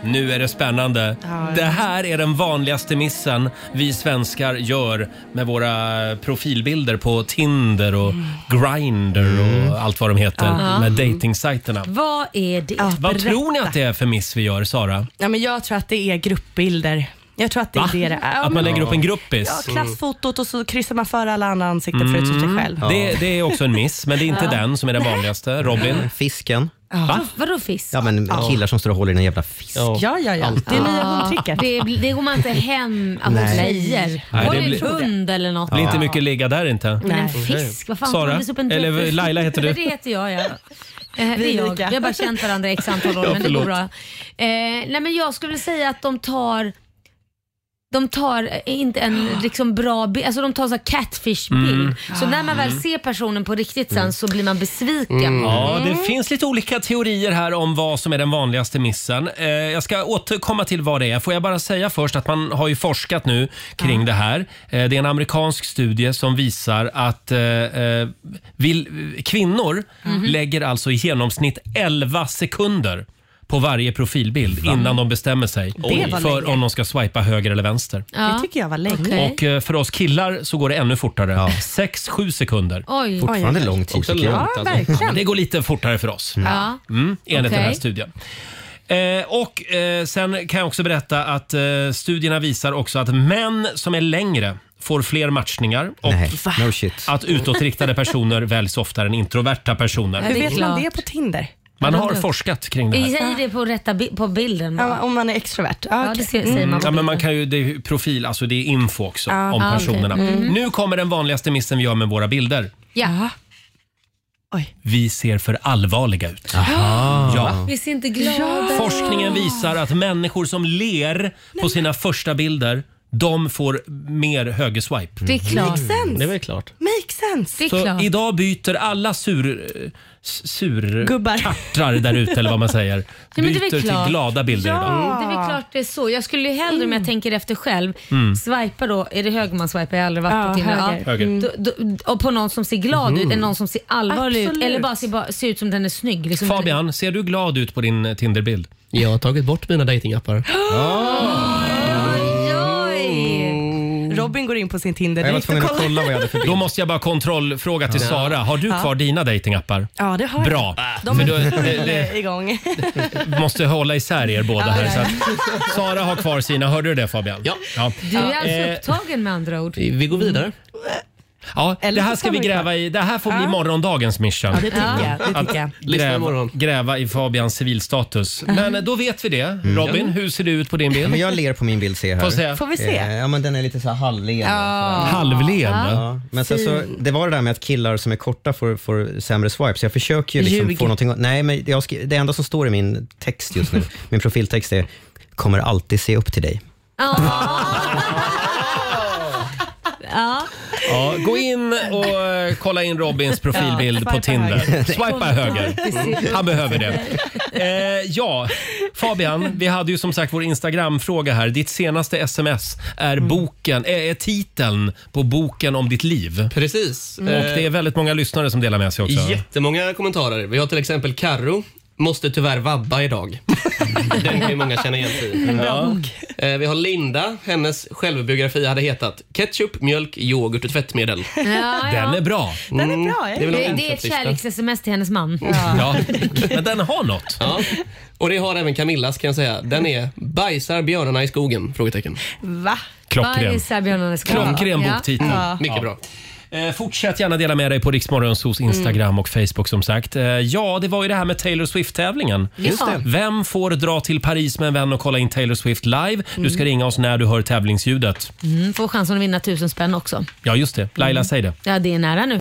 Nu är det spännande. Det här är den vanligaste missen vi svenskar gör med våra profilbilder på Tinder och Grindr och allt vad de heter Ja. med datingsajterna. Vad är det? Vad tror ni att det är för miss vi gör, Sara? Ja, men jag tror att det är gruppbilder. Jag tror att det är Va? det det är. Ja, Att man men- lägger upp en gruppis? Ja, klassfotot och så kryssar man för alla andra ansikten förutom Mm. sig själv. Det, det är också en miss, men det är inte Ja. den som är den vanligaste. Robin? Fisken. Va? Vadå fisk? Ja, men Ja. killar som står och håller i den jävla fisken. Ja, ja, Ah. ja. Det är nya hundtricket. Det, det går man inte hem av hos Nej. tjejer. Ah. Nej, Var det det blir- en hund eller något? Det blir inte mycket ligga där inte. Men en fisk? Vad fan Sara, det är så på en eller Laila heter du. Det heter jag ja. Eh, Vi det är är jag. lika. Vi har bara känt varandra i x antal år, Ja, men det går förlåt. bra. Eh, nej, men jag skulle säga att de tar de tar eh, inte en liksom bra bild, alltså de tar så här catfish-bild. Mm. Så när man väl Mm. ser personen på riktigt sen så blir man besviken. Ja, det Mm. finns lite olika teorier här om vad som är den vanligaste missen. Eh, jag ska återkomma till vad det är. Får jag bara säga först att man har ju forskat nu kring det här. Eh, det är en amerikansk studie som visar att eh, eh, vill, kvinnor Mhm. lägger alltså i genomsnitt 11 sekunder på varje profilbild innan de bestämmer sig Det var för länge. om de ska swipa höger eller vänster. Det tycker jag var länge. Och eh, för oss killar så går det ännu fortare. 6-7 sekunder. Oj. Fortfarande lång tid, Också tycker jag. långt, Ja, alltså. verkligen. Men Det går lite fortare för oss. Ja. Mm, enligt den här Okej. studien. Eh, och eh, sen kan jag också berätta att eh, studierna visar också att män som är längre får fler matchningar och Nej, no shit. att utåtriktade personer väljs oftare än introverta personer. Hur vet man klart. det på Tinder? Man har forskat kring det här. Säg det på, rätta bi- på bilden. bara. Ja, om man är extrovert. Ja, Ja, Mm. det okej. Mm. ser- säger man på Mm. Ja, men bilden. man kan ju, det är ju profil, alltså det är info också Ja, om ah, okej. personerna. Mm. Nu kommer den vanligaste missen vi gör med våra bilder. Ja. Vi ser för allvarliga ut. Ja. Vi ser inte glada ut. Forskningen visar att människor som ler på sina första bilder, de får mer högerswipe. Det är klart. Makes sense. Det är väl klart. Make sense. Mm. Så idag byter alla sur... s- sur Gubbar. Kattrar där ute eller vad man säger. Ja, men det är väl Byter klart. till glada bilder ja, idag. det är väl klart det är så. Jag skulle ju hellre om jag tänker efter själv, Mm. swipa då, är det höger man swipar? Jag har aldrig varit Ja, på Tinder. höger. Ja. Höger. Då, då, och på någon som ser glad Mm. ut än någon som ser allvarlig ut Absolut. eller bara ser, bara ser ut som den är snygg. Liksom. Fabian, ser du glad ut på din eh, Tinderbild? Jag har tagit bort mina datingappar. Mm. Oj. Robin går in på sin Tinder direkt och kollar. kolla vad jag hade för bild. Då måste jag bara kontrollfråga till Ja. Sara. Har du Ja. kvar dina datingappar? Ja, det har jag. Bra. De För då- är det- full det- igång. Måste hålla isär er båda Ja, här. ja, Så att Sara har kvar sina. Hörde du det Fabian? Ja. ja. Du är alltså Eh, upptagen med andra ord. vi går vidare. Mm. Ja, Eller det här så ska tar vi vi gräva i. Det här får bli Ja. morgondagens mission. Ja, det tycker jag, det tycker Att jag. Lyssna Gräva, gräva i Fabians civilstatus. Men eh, då vet vi det. Robin, hur ser du ut på din bild? Men jag ler på min bild, ser jag här. Får se. Mm. Får vi se? Eh, Ja, men den är lite så här halvleende. Ja. Halvleende? Ja. Men sen så, Fin. det var det där med att killar som är korta får, får sämre swipes. Jag försöker ju liksom Ljug. få någonting... Nej, men jag skri... det enda som står i min text just nu, min profiltext är “Kommer alltid se upp till dig”. Ja. Ja, gå in och eh, kolla in Robins profilbild Ja, på swipa Tinder. höger. Swipa höger. Han behöver det. Eh, ja, Fabian, vi hade ju som sagt vår Instagram-fråga här. Ditt senaste sms är, boken, eh, är, är titeln på boken om ditt Mm. liv. Precis. Eh, Och det är väldigt många lyssnare som delar med sig också. Jättemånga kommentarer. Vi har till exempel Karro. Måste tyvärr vabba idag. Den kan ju många känna igen sig i. En bra Eh, Vi har Linda. Hennes självbiografi hade hetat Ketchup, mjölk, yoghurt och tvättmedel. Ja, ja. bra. Den Mm, är bra. eh? väl Det, något det är ett intressant, visst, kärleks-sms till hennes man. Mm. Ja. Men den har något. Ja. Och det har även Camillas kan jag säga. Den är “Bajsar björnarna i skogen?” frågetecken. Va? Klockren. Bajsar björnarna ska. Klockren Ja. boktitel. Ja. Mycket bra. Eh, Fortsätt gärna dela med dig på Riksmorgonsos Instagram Mm. och Facebook som sagt. Eh, Ja, det var ju det här med Taylor Swift-tävlingen. Just det. Vem får dra till Paris med en vän och kolla in Taylor Swift live? Du ska Mm. ringa oss när du hör tävlingsljudet. Mm, får chansen att vinna tusen spänn också. Ja, just det. Laila, säg det. Ja, det är nära nu.